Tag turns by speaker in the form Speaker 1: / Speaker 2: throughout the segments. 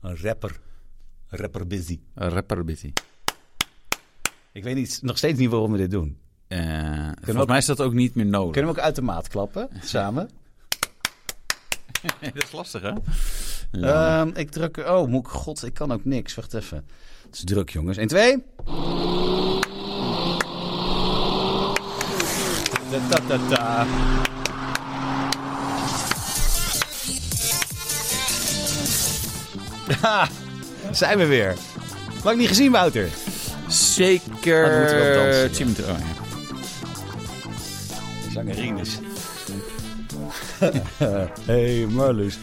Speaker 1: Een rapper. Rapper busy.
Speaker 2: Een rapper busy.
Speaker 1: Ik weet niet, nog steeds niet waarom we dit doen.
Speaker 2: Eh volgens
Speaker 1: ook-
Speaker 2: mij is dat ook niet meer nodig.
Speaker 1: Kunnen we ook uit de maat klappen, samen?
Speaker 2: dat is lastig, hè?
Speaker 1: Ehm, ik druk... Oh, moet ik... God, ik kan ook niks. Wacht even. Het is druk, jongens. 1, 2. Da, da, da, da. Ha, zijn we weer. Lang niet gezien, Wouter.
Speaker 2: Zeker.
Speaker 1: Oh, dan moeten we wel dansen,
Speaker 2: Jimmy Tr- oh, ja.
Speaker 1: Zangerines. hey, Marloes.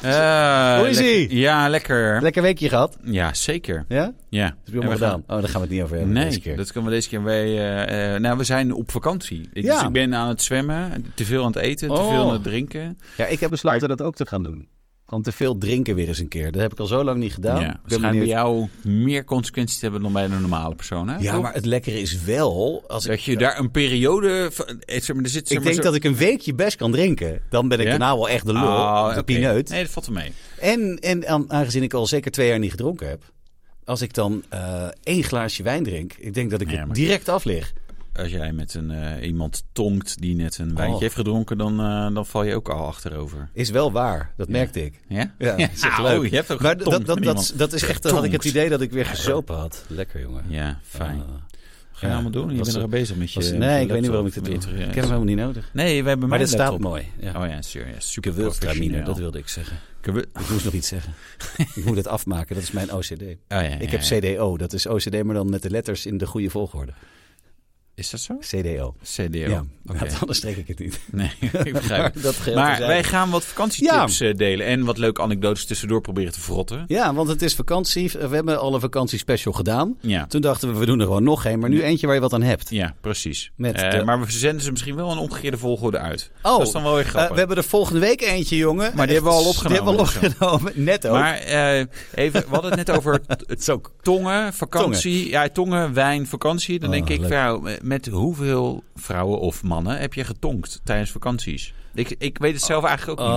Speaker 2: Eh,
Speaker 1: Hoe is
Speaker 2: lekker-
Speaker 1: ie?
Speaker 2: Ja, lekker.
Speaker 1: Lekker weekje gehad?
Speaker 2: Ja, zeker.
Speaker 1: Ja? Dat
Speaker 2: Ja.
Speaker 1: heb je allemaal
Speaker 2: En we
Speaker 1: gedaan.
Speaker 2: gaan-
Speaker 1: Oh, daar gaan we het niet over hebben deze
Speaker 2: Nee,
Speaker 1: keer.
Speaker 2: dat kunnen we deze keer. Wij, eh, eh, nou, we zijn op vakantie. Ik,
Speaker 1: Ja.
Speaker 2: Dus ik ben aan het zwemmen, te veel aan het eten, te
Speaker 1: Oh.
Speaker 2: veel aan het drinken.
Speaker 1: Ja, ik heb besloten dat ook te gaan doen. Gewoon te veel drinken weer eens een keer. Dat heb ik al zo lang niet gedaan. Ik
Speaker 2: ja,
Speaker 1: ben
Speaker 2: waarschijnlijk bij
Speaker 1: benieuwd.
Speaker 2: jou meer consequenties te hebben dan bij een normale persoon. Hè?
Speaker 1: ja,
Speaker 2: Toch?
Speaker 1: maar het lekkere is wel... Als ik,
Speaker 2: dat je daar een periode van. eh, Zeg maar, er zit, zeg
Speaker 1: ik
Speaker 2: maar,
Speaker 1: denk
Speaker 2: zo-
Speaker 1: dat ik een weekje best kan drinken. Dan ben ik
Speaker 2: Ja?
Speaker 1: daarna wel echt de lul.
Speaker 2: Ah,
Speaker 1: de
Speaker 2: oké.
Speaker 1: pineut.
Speaker 2: Nee, dat valt er mee.
Speaker 1: En, en aan- aangezien ik al zeker twee jaar niet gedronken heb... Als ik dan eh, één glaasje wijn drink... Ik denk dat ik
Speaker 2: Ja,
Speaker 1: er
Speaker 2: maar-
Speaker 1: direct af lig.
Speaker 2: Als jij met een, eh, iemand tonkt die net een wijntje
Speaker 1: Oh.
Speaker 2: heeft gedronken, dan, eh, dan val je ook al achterover.
Speaker 1: Is wel waar. Dat merkte ik.
Speaker 2: Ja?
Speaker 1: Ja, dat is echt
Speaker 2: Ah,
Speaker 1: leuk.
Speaker 2: oh, je hebt ook
Speaker 1: Maar dat, dat,
Speaker 2: getonkt met
Speaker 1: dat,
Speaker 2: iemand.
Speaker 1: dat is echt... Dan had ik het
Speaker 2: Getonkt.
Speaker 1: idee dat ik weer gezopen had. Lekker, jongen.
Speaker 2: Ja, fijn.
Speaker 1: Ah.
Speaker 2: Ga je
Speaker 1: ja,
Speaker 2: allemaal doen? Je
Speaker 1: was
Speaker 2: bent
Speaker 1: er-
Speaker 2: er bezig met je.
Speaker 1: Was-
Speaker 2: met je
Speaker 1: nee, ik weet niet
Speaker 2: laptop,
Speaker 1: waarom ik dat doe.
Speaker 2: met
Speaker 1: Ik
Speaker 2: je-
Speaker 1: heb hem helemaal niet nodig.
Speaker 2: Nee, we hebben
Speaker 1: Maar
Speaker 2: mijn
Speaker 1: dit staat
Speaker 2: laptop.
Speaker 1: mooi. Ja.
Speaker 2: Oh ja, serieus. Ja, super
Speaker 1: Gewildtramine,
Speaker 2: professioneel.
Speaker 1: dat wilde ik zeggen.
Speaker 2: Gewil-
Speaker 1: Ik moest nog iets zeggen. ik moet het afmaken, dat is mijn OCD.
Speaker 2: Oh, ja, ja,
Speaker 1: Ik heb
Speaker 2: ja.
Speaker 1: CDO, dat is OCD, maar dan met de letters in de goede volgorde.
Speaker 2: Is dat zo?
Speaker 1: CDO.
Speaker 2: CDO.
Speaker 1: Ja,
Speaker 2: Oké.
Speaker 1: want anders trek ik het niet.
Speaker 2: Nee, ik begrijp het.
Speaker 1: dat geldt
Speaker 2: Maar
Speaker 1: dus
Speaker 2: wij
Speaker 1: eigenlijk.
Speaker 2: gaan wat vakantietips eh, delen en wat leuke anekdotes tussendoor proberen te verrotten.
Speaker 1: Ja, want het is vakantie. We hebben al een vakantiespecial gedaan.
Speaker 2: Ja,
Speaker 1: Toen dachten we, we doen er gewoon nog één, maar nu eentje waar je wat aan hebt.
Speaker 2: ja precies.
Speaker 1: Met
Speaker 2: Eh,
Speaker 1: de-
Speaker 2: Maar we zenden ze misschien wel in omgekeerde volgorde uit.
Speaker 1: Oh,
Speaker 2: dat is dan wel weer
Speaker 1: Eh,
Speaker 2: grappig.
Speaker 1: we hebben er volgende week eentje, jongen.
Speaker 2: Maar die hebben we al
Speaker 1: Echt, Die hebben we al
Speaker 2: opgenomen, dus,
Speaker 1: opgenomen. Net ook.
Speaker 2: Maar eh, even, we hadden het net over t-
Speaker 1: het is ook
Speaker 2: tongen, vakantie. Ja, tongen, wijn, vakantie. Dan
Speaker 1: Oh,
Speaker 2: denk ik,
Speaker 1: leuk.
Speaker 2: vrouw, eh, met hoeveel vrouwen of mannen heb je getonkt tijdens vakanties? Ik, ik weet het zelf eigenlijk ook niet.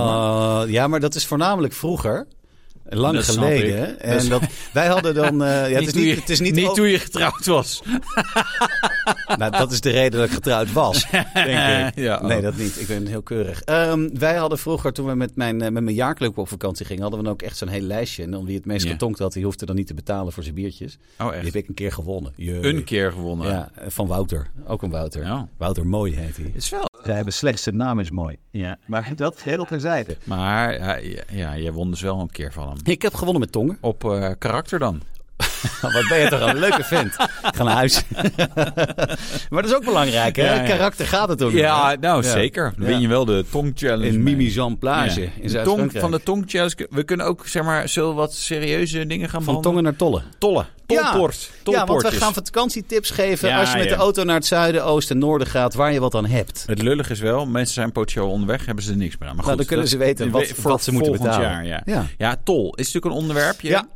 Speaker 1: Oh,
Speaker 2: hoor.
Speaker 1: ja, maar dat is voornamelijk vroeger. Lang
Speaker 2: Dat snap ik.
Speaker 1: geleden. En dat, wij hadden dan. eh, ja, het is
Speaker 2: toen
Speaker 1: niet.
Speaker 2: je-
Speaker 1: Het is niet,
Speaker 2: niet
Speaker 1: ook-
Speaker 2: toen je getrouwd was.
Speaker 1: nou, dat is de reden dat ik getrouwd was. Denk ik.
Speaker 2: Ja, oh.
Speaker 1: Nee, dat niet. Ik ben heel keurig. Ehm, wij hadden vroeger, toen we met mijn, eh, met mijn jaarclub op vakantie gingen, hadden we dan ook echt zo'n heel lijstje. En dan wie het meest
Speaker 2: Ja.
Speaker 1: getonkt had, die hoefde dan niet te betalen voor zijn biertjes.
Speaker 2: Oh,
Speaker 1: Die
Speaker 2: echt?
Speaker 1: heb ik een keer gewonnen. Jee.
Speaker 2: Een keer Oh. gewonnen.
Speaker 1: Ja, van Wouter. Ook een Wouter.
Speaker 2: Ja.
Speaker 1: Wouter Mooi heet hij.
Speaker 2: Is wel.
Speaker 1: Zij hebben slechts zijn naam is mooi.
Speaker 2: Ja.
Speaker 1: Maar dat heel terzijde.
Speaker 2: Maar ja, ja, ja, jij won dus wel een keer van hem.
Speaker 1: Ik heb gewonnen met tongen.
Speaker 2: Op eh, karakter dan.
Speaker 1: Wat ben je toch een leuke vent. Ga naar huis. maar dat is ook belangrijk, hè?
Speaker 2: Ja, ja.
Speaker 1: Karakter gaat het om.
Speaker 2: Ja,
Speaker 1: hè?
Speaker 2: nou
Speaker 1: Ja.
Speaker 2: zeker. Dan
Speaker 1: Ja.
Speaker 2: win je wel de Tong Challenge.
Speaker 1: In
Speaker 2: mee.
Speaker 1: Mimi Jean Plage
Speaker 2: Ja.
Speaker 1: in
Speaker 2: De tong,
Speaker 1: Zuid-Frankrijk.
Speaker 2: Van de Tong Challenge. We kunnen ook, zeg maar, zullen we wat serieuze dingen gaan
Speaker 1: Van
Speaker 2: behandelen?
Speaker 1: tongen naar tollen.
Speaker 2: Tollen.
Speaker 1: Ja.
Speaker 2: Tolport.
Speaker 1: Ja, want we
Speaker 2: Tolportjes.
Speaker 1: gaan vakantietips geven
Speaker 2: Ja,
Speaker 1: als je met
Speaker 2: ja.
Speaker 1: de auto naar het zuiden, oosten en noorden gaat, waar je wat aan hebt.
Speaker 2: Het lullig is wel, mensen zijn potentieel onderweg, hebben ze er niks meer aan. Maar
Speaker 1: Nou,
Speaker 2: goed,
Speaker 1: dan kunnen
Speaker 2: dat-
Speaker 1: ze weten wat-
Speaker 2: voor
Speaker 1: wat ze moeten
Speaker 2: volgend
Speaker 1: betalen.
Speaker 2: Jaar, ja.
Speaker 1: Ja.
Speaker 2: Ja. tol is natuurlijk een onderwerpje.
Speaker 1: Ja.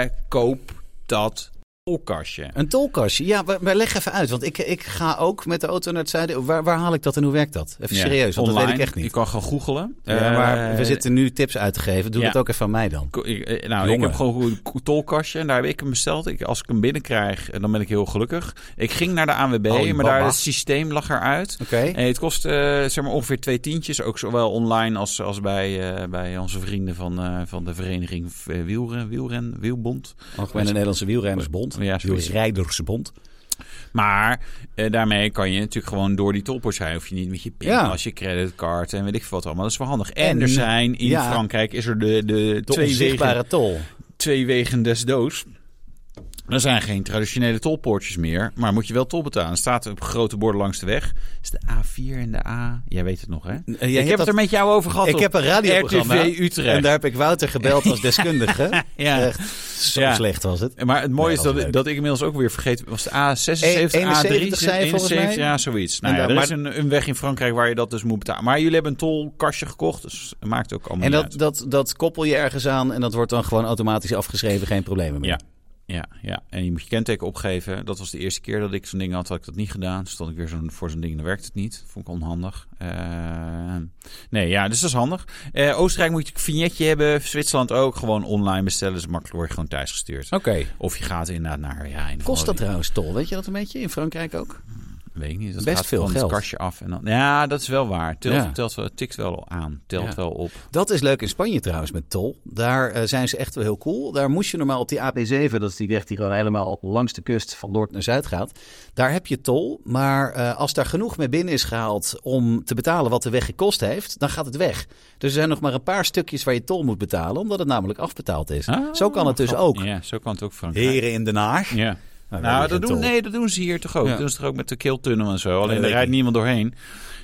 Speaker 2: Eh, koop dat tolkastje.
Speaker 1: Een tolkastje. Ja, maar, maar leg even uit. Want ik, ik ga ook met de auto naar het zuiden. Waar, waar haal ik dat en hoe werkt dat? Even
Speaker 2: Ja,
Speaker 1: serieus, want
Speaker 2: online.
Speaker 1: dat weet ik echt
Speaker 2: Je
Speaker 1: niet.
Speaker 2: kan gaan googelen.
Speaker 1: ja, maar
Speaker 2: Eh,
Speaker 1: we zitten nu tips uit te geven. Doe
Speaker 2: ja.
Speaker 1: dat ook even aan mij dan.
Speaker 2: Ko- ik- eh, Nou, ik
Speaker 1: Jongen.
Speaker 2: heb gewoon een ko- tolkastje en daar heb ik hem besteld. Ik, als ik hem binnenkrijg, eh, dan ben ik heel gelukkig. Ik ging naar de ANWB,
Speaker 1: Oh, die
Speaker 2: maar daar
Speaker 1: baba.
Speaker 2: het systeem lag eruit.
Speaker 1: Oké.
Speaker 2: Eh, het kost eh, zeg maar ongeveer twee tientjes, ook zowel online als, als bij, eh, bij onze vrienden van, eh, van de vereniging eh, Wielren, Wielren, Wielbond.
Speaker 1: Algemene Nederlandse Wielrennersbond.
Speaker 2: Ja, zoiets.
Speaker 1: Wielrijdersbond.
Speaker 2: Maar eh, daarmee kan je natuurlijk gewoon door die tolpoort zijn. Hoef je niet met je pin,
Speaker 1: Ja.
Speaker 2: als je creditcard en weet ik veel wat allemaal. Dat is wel handig. En,
Speaker 1: En-
Speaker 2: er zijn in
Speaker 1: ja.
Speaker 2: Frankrijk is er de, de,
Speaker 1: De
Speaker 2: twee,
Speaker 1: onzichtbare
Speaker 2: wegen,
Speaker 1: tol.
Speaker 2: twee wegen des doods. Er zijn geen traditionele tolpoortjes meer, maar moet je wel tol betalen. Er staat op grote borden langs de weg. is de A4 en de A. Jij weet het nog, hè?
Speaker 1: jij
Speaker 2: ik
Speaker 1: hebt
Speaker 2: heb het
Speaker 1: dat-
Speaker 2: er met jou over gehad.
Speaker 1: Ik
Speaker 2: op
Speaker 1: heb een radioprogramma.
Speaker 2: RTV Utrecht.
Speaker 1: En daar heb ik Wouter gebeld als deskundige.
Speaker 2: Ja.
Speaker 1: Echt, zo
Speaker 2: Ja.
Speaker 1: slecht was het.
Speaker 2: Maar het mooie
Speaker 1: Nee,
Speaker 2: is
Speaker 1: dat
Speaker 2: dat,
Speaker 1: is leuk.
Speaker 2: dat ik inmiddels ook weer vergeten was. De A76,
Speaker 1: E- 71
Speaker 2: A3,
Speaker 1: zei je volgens mij?
Speaker 2: ja, zoiets.
Speaker 1: En
Speaker 2: Nou ja,
Speaker 1: daar-
Speaker 2: er is een, een weg in Frankrijk waar je dat dus moet betalen. Maar jullie hebben een tolkastje gekocht, dus het maakt ook allemaal
Speaker 1: En
Speaker 2: niet
Speaker 1: dat, dat, dat koppel je ergens aan en dat wordt dan gewoon automatisch afgeschreven. Geen problemen meer.
Speaker 2: uit. Ja. Ja, ja, en je moet je kenteken opgeven. Dat was de eerste keer dat ik zo'n ding had, had ik dat niet gedaan. Dus Stond ik weer zo'n, voor zo'n ding en dan werkte het niet. Vond ik onhandig. Eh, nee, ja, dus dat is handig. Eh, Oostenrijk moet je een vignetje hebben. Zwitserland ook. Gewoon online bestellen. Dus makkelijk word je gewoon thuis gestuurd.
Speaker 1: Oké.
Speaker 2: Of je gaat inderdaad naar... Ja, een of
Speaker 1: Oh. Kost dat
Speaker 2: andere-
Speaker 1: trouwens tol? Weet je dat een beetje? In Frankrijk ook?
Speaker 2: Weet ik niet. Dat
Speaker 1: Best
Speaker 2: gaat
Speaker 1: veel
Speaker 2: van het
Speaker 1: geld.
Speaker 2: kastje af. En dan, ja, dat is wel waar. Telt,
Speaker 1: Ja.
Speaker 2: telt wel, tikt wel aan. Telt
Speaker 1: Ja.
Speaker 2: wel op.
Speaker 1: Dat is leuk in Spanje trouwens met tol. Daar eh, zijn ze echt wel heel cool. Daar moest je normaal op die AP7, dat is die weg die gewoon helemaal langs de kust van noord naar zuid gaat. Daar heb je tol, maar eh, als daar genoeg mee binnen is gehaald om te betalen wat de weg gekost heeft, dan gaat het weg. Dus er zijn nog maar een paar stukjes waar je tol moet betalen, omdat het namelijk afbetaald is.
Speaker 2: Ah,
Speaker 1: Zo kan het dus
Speaker 2: grappig.
Speaker 1: ook.
Speaker 2: Ja, zo kan het ook Frankrijk.
Speaker 1: Heren in Den Haag.
Speaker 2: Ja.
Speaker 1: Nou,
Speaker 2: Nou,
Speaker 1: geen
Speaker 2: dat doen,
Speaker 1: tol.
Speaker 2: nee, dat doen ze hier toch ook.
Speaker 1: Ja.
Speaker 2: Dat doen ze toch ook met de keeltunnel en zo. Alleen
Speaker 1: dat
Speaker 2: daar
Speaker 1: weet ik
Speaker 2: rijdt niemand doorheen.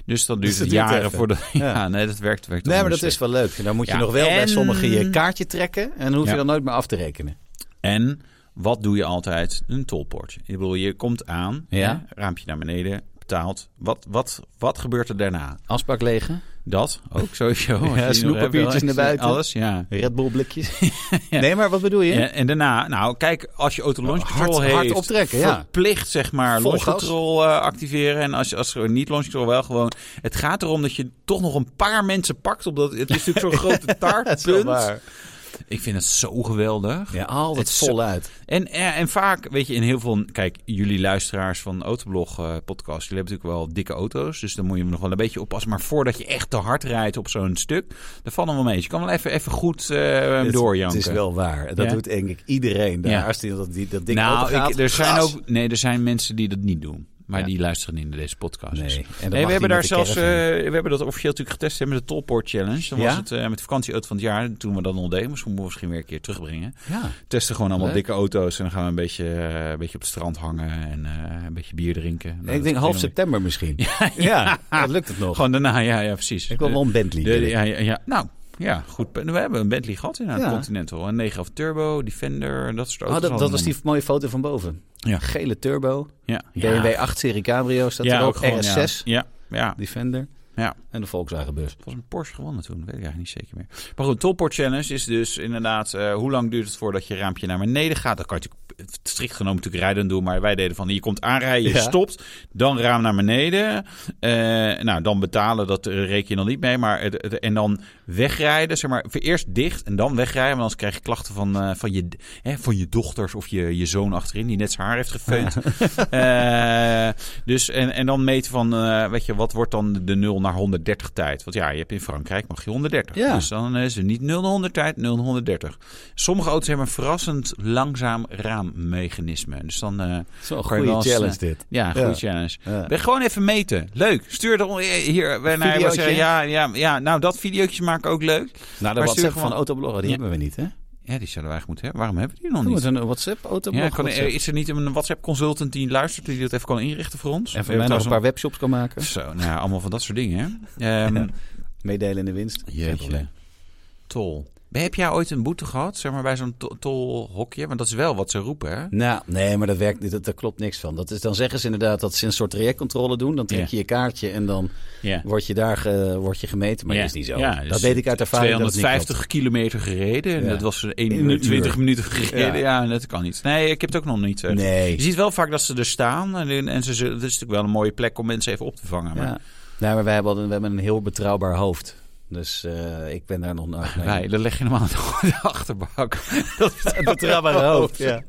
Speaker 2: Dus dat duurt
Speaker 1: Dus dat
Speaker 2: het
Speaker 1: duurt
Speaker 2: jaren
Speaker 1: even.
Speaker 2: voor de... Ja,
Speaker 1: Ja.
Speaker 2: nee, dat werkt, werkt
Speaker 1: Nee, maar
Speaker 2: anders.
Speaker 1: dat is wel leuk. Dan moet je
Speaker 2: Ja,
Speaker 1: nog wel bij
Speaker 2: en-
Speaker 1: sommigen je kaartje trekken en dan hoef je
Speaker 2: Ja.
Speaker 1: dat nooit meer af te rekenen.
Speaker 2: En wat doe je altijd? Een tolpoortje. Ik bedoel, je komt aan,
Speaker 1: Ja.
Speaker 2: hè, raampje naar beneden, betaalt. Wat, wat, wat gebeurt er daarna?
Speaker 1: Afspraak legen.
Speaker 2: Dat ook sowieso. Als je die nog hebt,
Speaker 1: snoeppapiertjes
Speaker 2: wel,
Speaker 1: naar buiten.
Speaker 2: Alles, ja.
Speaker 1: Red Bull blikjes. Nee, maar wat bedoel je?
Speaker 2: Ja, en daarna, nou kijk, als je auto launch
Speaker 1: Oh, Hard-
Speaker 2: control heeft,
Speaker 1: hard optrekken, ja.
Speaker 2: verplicht zeg maar
Speaker 1: Vol
Speaker 2: launch
Speaker 1: gas.
Speaker 2: control eh, activeren. En als, als er niet launch control wel gewoon, het gaat erom dat je toch nog een paar mensen pakt. Omdat het is natuurlijk zo'n grote
Speaker 1: Dat is wel
Speaker 2: taartpunt.
Speaker 1: waar.
Speaker 2: Ik vind het zo geweldig.
Speaker 1: Ja, altijd
Speaker 2: Het is zo-
Speaker 1: voluit.
Speaker 2: En, ja, en vaak, weet je, in heel veel... Kijk, jullie luisteraars van Autoblog eh, podcast... jullie hebben natuurlijk wel dikke auto's. Dus dan moet je nog wel een beetje oppassen. Maar voordat je echt te hard rijdt op zo'n stuk... dan vallen we wel mee. Dus Je kan wel even, even goed eh
Speaker 1: Het-
Speaker 2: doorjanken.
Speaker 1: Het is wel waar. Dat
Speaker 2: Ja.
Speaker 1: doet denk ik iedereen daar.
Speaker 2: Ja.
Speaker 1: Als die, dat, die, dat ding
Speaker 2: nou,
Speaker 1: opengaat,
Speaker 2: ik- er zijn
Speaker 1: gas.
Speaker 2: ook... Nee, er zijn mensen die dat niet doen. Maar
Speaker 1: Ja.
Speaker 2: die luisteren niet naar deze podcast.
Speaker 1: Nee,
Speaker 2: Dus-
Speaker 1: en dat mag
Speaker 2: Nee, we
Speaker 1: niet
Speaker 2: hebben daar
Speaker 1: met de
Speaker 2: zelfs... eh,
Speaker 1: caravan.
Speaker 2: we hebben dat officieel natuurlijk getest hè, met de Tolpoort Challenge. Dan
Speaker 1: Ja?
Speaker 2: was het eh, met de vakantieauto van het jaar. Toen we dat al deden. Misschien moeten we misschien weer een keer terugbrengen.
Speaker 1: ja.
Speaker 2: testen gewoon allemaal
Speaker 1: Leuk.
Speaker 2: dikke auto's en dan gaan we een beetje, eh, een beetje op het strand hangen en eh, een beetje bier drinken. Nou,
Speaker 1: ik
Speaker 2: dat
Speaker 1: denk
Speaker 2: is
Speaker 1: half
Speaker 2: prima.
Speaker 1: september misschien. Ja, dat lukt het nog.
Speaker 2: Gewoon daarna, ja, ja precies.
Speaker 1: ik wil wel een Bentley.
Speaker 2: De-
Speaker 1: wil ik.
Speaker 2: ja, ja, ja. Nou, ja, goed. We hebben een Bentley gehad in
Speaker 1: Ja.
Speaker 2: een Continental. Een 9 of Turbo, Defender, dat soort
Speaker 1: Oh,
Speaker 2: auto's.
Speaker 1: dat, dat
Speaker 2: allemaal.
Speaker 1: was die mooie foto van boven.
Speaker 2: Ja.
Speaker 1: Gele turbo.
Speaker 2: ja.
Speaker 1: BMW 8 serie cabrio staat
Speaker 2: ja,
Speaker 1: er ook.
Speaker 2: gewoon, ja.
Speaker 1: RS6.
Speaker 2: Ja, ja.
Speaker 1: Defender.
Speaker 2: Ja.
Speaker 1: En de Volkswagen bus.
Speaker 2: Het was een Porsche gewonnen toen, weet ik eigenlijk niet zeker meer. Maar goed, Tolport Challenge is dus inderdaad... eh, hoe lang duurt het voordat je raampje naar beneden gaat? Dat kan je natuurlijk strikt genomen natuurlijk rijden doen. Maar wij deden van, je komt aanrijden, je
Speaker 1: Ja.
Speaker 2: stopt. Dan raam naar beneden. Eh, nou, dan betalen, dat eh, reken je dan niet mee. Maar, het, het- en dan wegrijden, zeg maar. voor Eerst dicht en dan wegrijden. Want anders krijg je klachten van, eh, van, je, hè, van je dochters of je, je zoon achterin... die net zijn haar heeft gefeund. Eh, dus en, en dan meten van, eh, weet je, wat wordt dan de 0 naar 130 tijd? Want ja, je hebt in Frankrijk mag je 130.
Speaker 1: Ja.
Speaker 2: Dus dan is het niet 0 naar 100 tijd, 0 naar 130. Sommige auto's hebben een verrassend langzaam raammechanisme. Dus dan, eh,
Speaker 1: Zo'n
Speaker 2: Kan je
Speaker 1: goede
Speaker 2: wel eens,
Speaker 1: challenge dit.
Speaker 2: ja,
Speaker 1: Ja.
Speaker 2: goede challenge.
Speaker 1: Ja.
Speaker 2: Ben gewoon even meten. Leuk. Stuur er hier eh, naar
Speaker 1: Videootje?
Speaker 2: zeggen, ja, ja, ja, nou dat videootje maken ook leuk.
Speaker 1: Nou, de
Speaker 2: stuur
Speaker 1: WhatsApp
Speaker 2: gewoon-
Speaker 1: van Autoblogger, die
Speaker 2: Ja.
Speaker 1: hebben we niet, hè?
Speaker 2: Ja, die zullen we eigenlijk moeten hebben. Waarom hebben we die nog
Speaker 1: Moet
Speaker 2: niet?
Speaker 1: een WhatsApp Autoblog.
Speaker 2: Ja, kan,
Speaker 1: WhatsApp.
Speaker 2: is er niet een WhatsApp consultant die luistert die dat even kan inrichten voor ons?
Speaker 1: En van
Speaker 2: We hebben
Speaker 1: mij nog een
Speaker 2: trouwens
Speaker 1: paar webshops kan maken.
Speaker 2: Zo, nou ja, allemaal van dat soort dingen. hè. Ehm,
Speaker 1: Meedelen in de winst. Geen
Speaker 2: Jeetje.
Speaker 1: probleem.
Speaker 2: Tol. Ben- Heb jij ooit een boete gehad, zeg maar, bij zo'n to- tolhokje? Want dat is wel wat ze roepen, hè?
Speaker 1: Nou, nee, maar dat werkt niet. Dat, daar klopt niks van. Dat is, dan zeggen ze inderdaad dat ze een soort trajectcontrole doen. Dan trek je je kaartje en dan
Speaker 2: Ja.
Speaker 1: word je daar ge- word je gemeten. Maar dat is niet zo.
Speaker 2: Ja,
Speaker 1: dat
Speaker 2: dus
Speaker 1: weet ik uit ervaring. dat het niet
Speaker 2: 250 kilometer gereden. En
Speaker 1: Ja.
Speaker 2: dat was
Speaker 1: In een
Speaker 2: 21
Speaker 1: uur.
Speaker 2: minuten gereden. Ja.
Speaker 1: Ja.
Speaker 2: dat kan niet. Nee, ik heb het ook nog niet. eh,
Speaker 1: klopt.
Speaker 2: Je
Speaker 1: Nee.
Speaker 2: ziet wel vaak dat ze er staan. En, en ze, ze, het is natuurlijk wel een mooie plek om mensen even op te vangen. Maar
Speaker 1: Ja. Nou, maar wij hebben, we hebben een heel betrouwbaar hoofd. Dus eh, ik ben daar nog naar. nee.
Speaker 2: wij, dat leg je normaal in de achterbak. dat is
Speaker 1: Het betrouwbare hoofd, ja.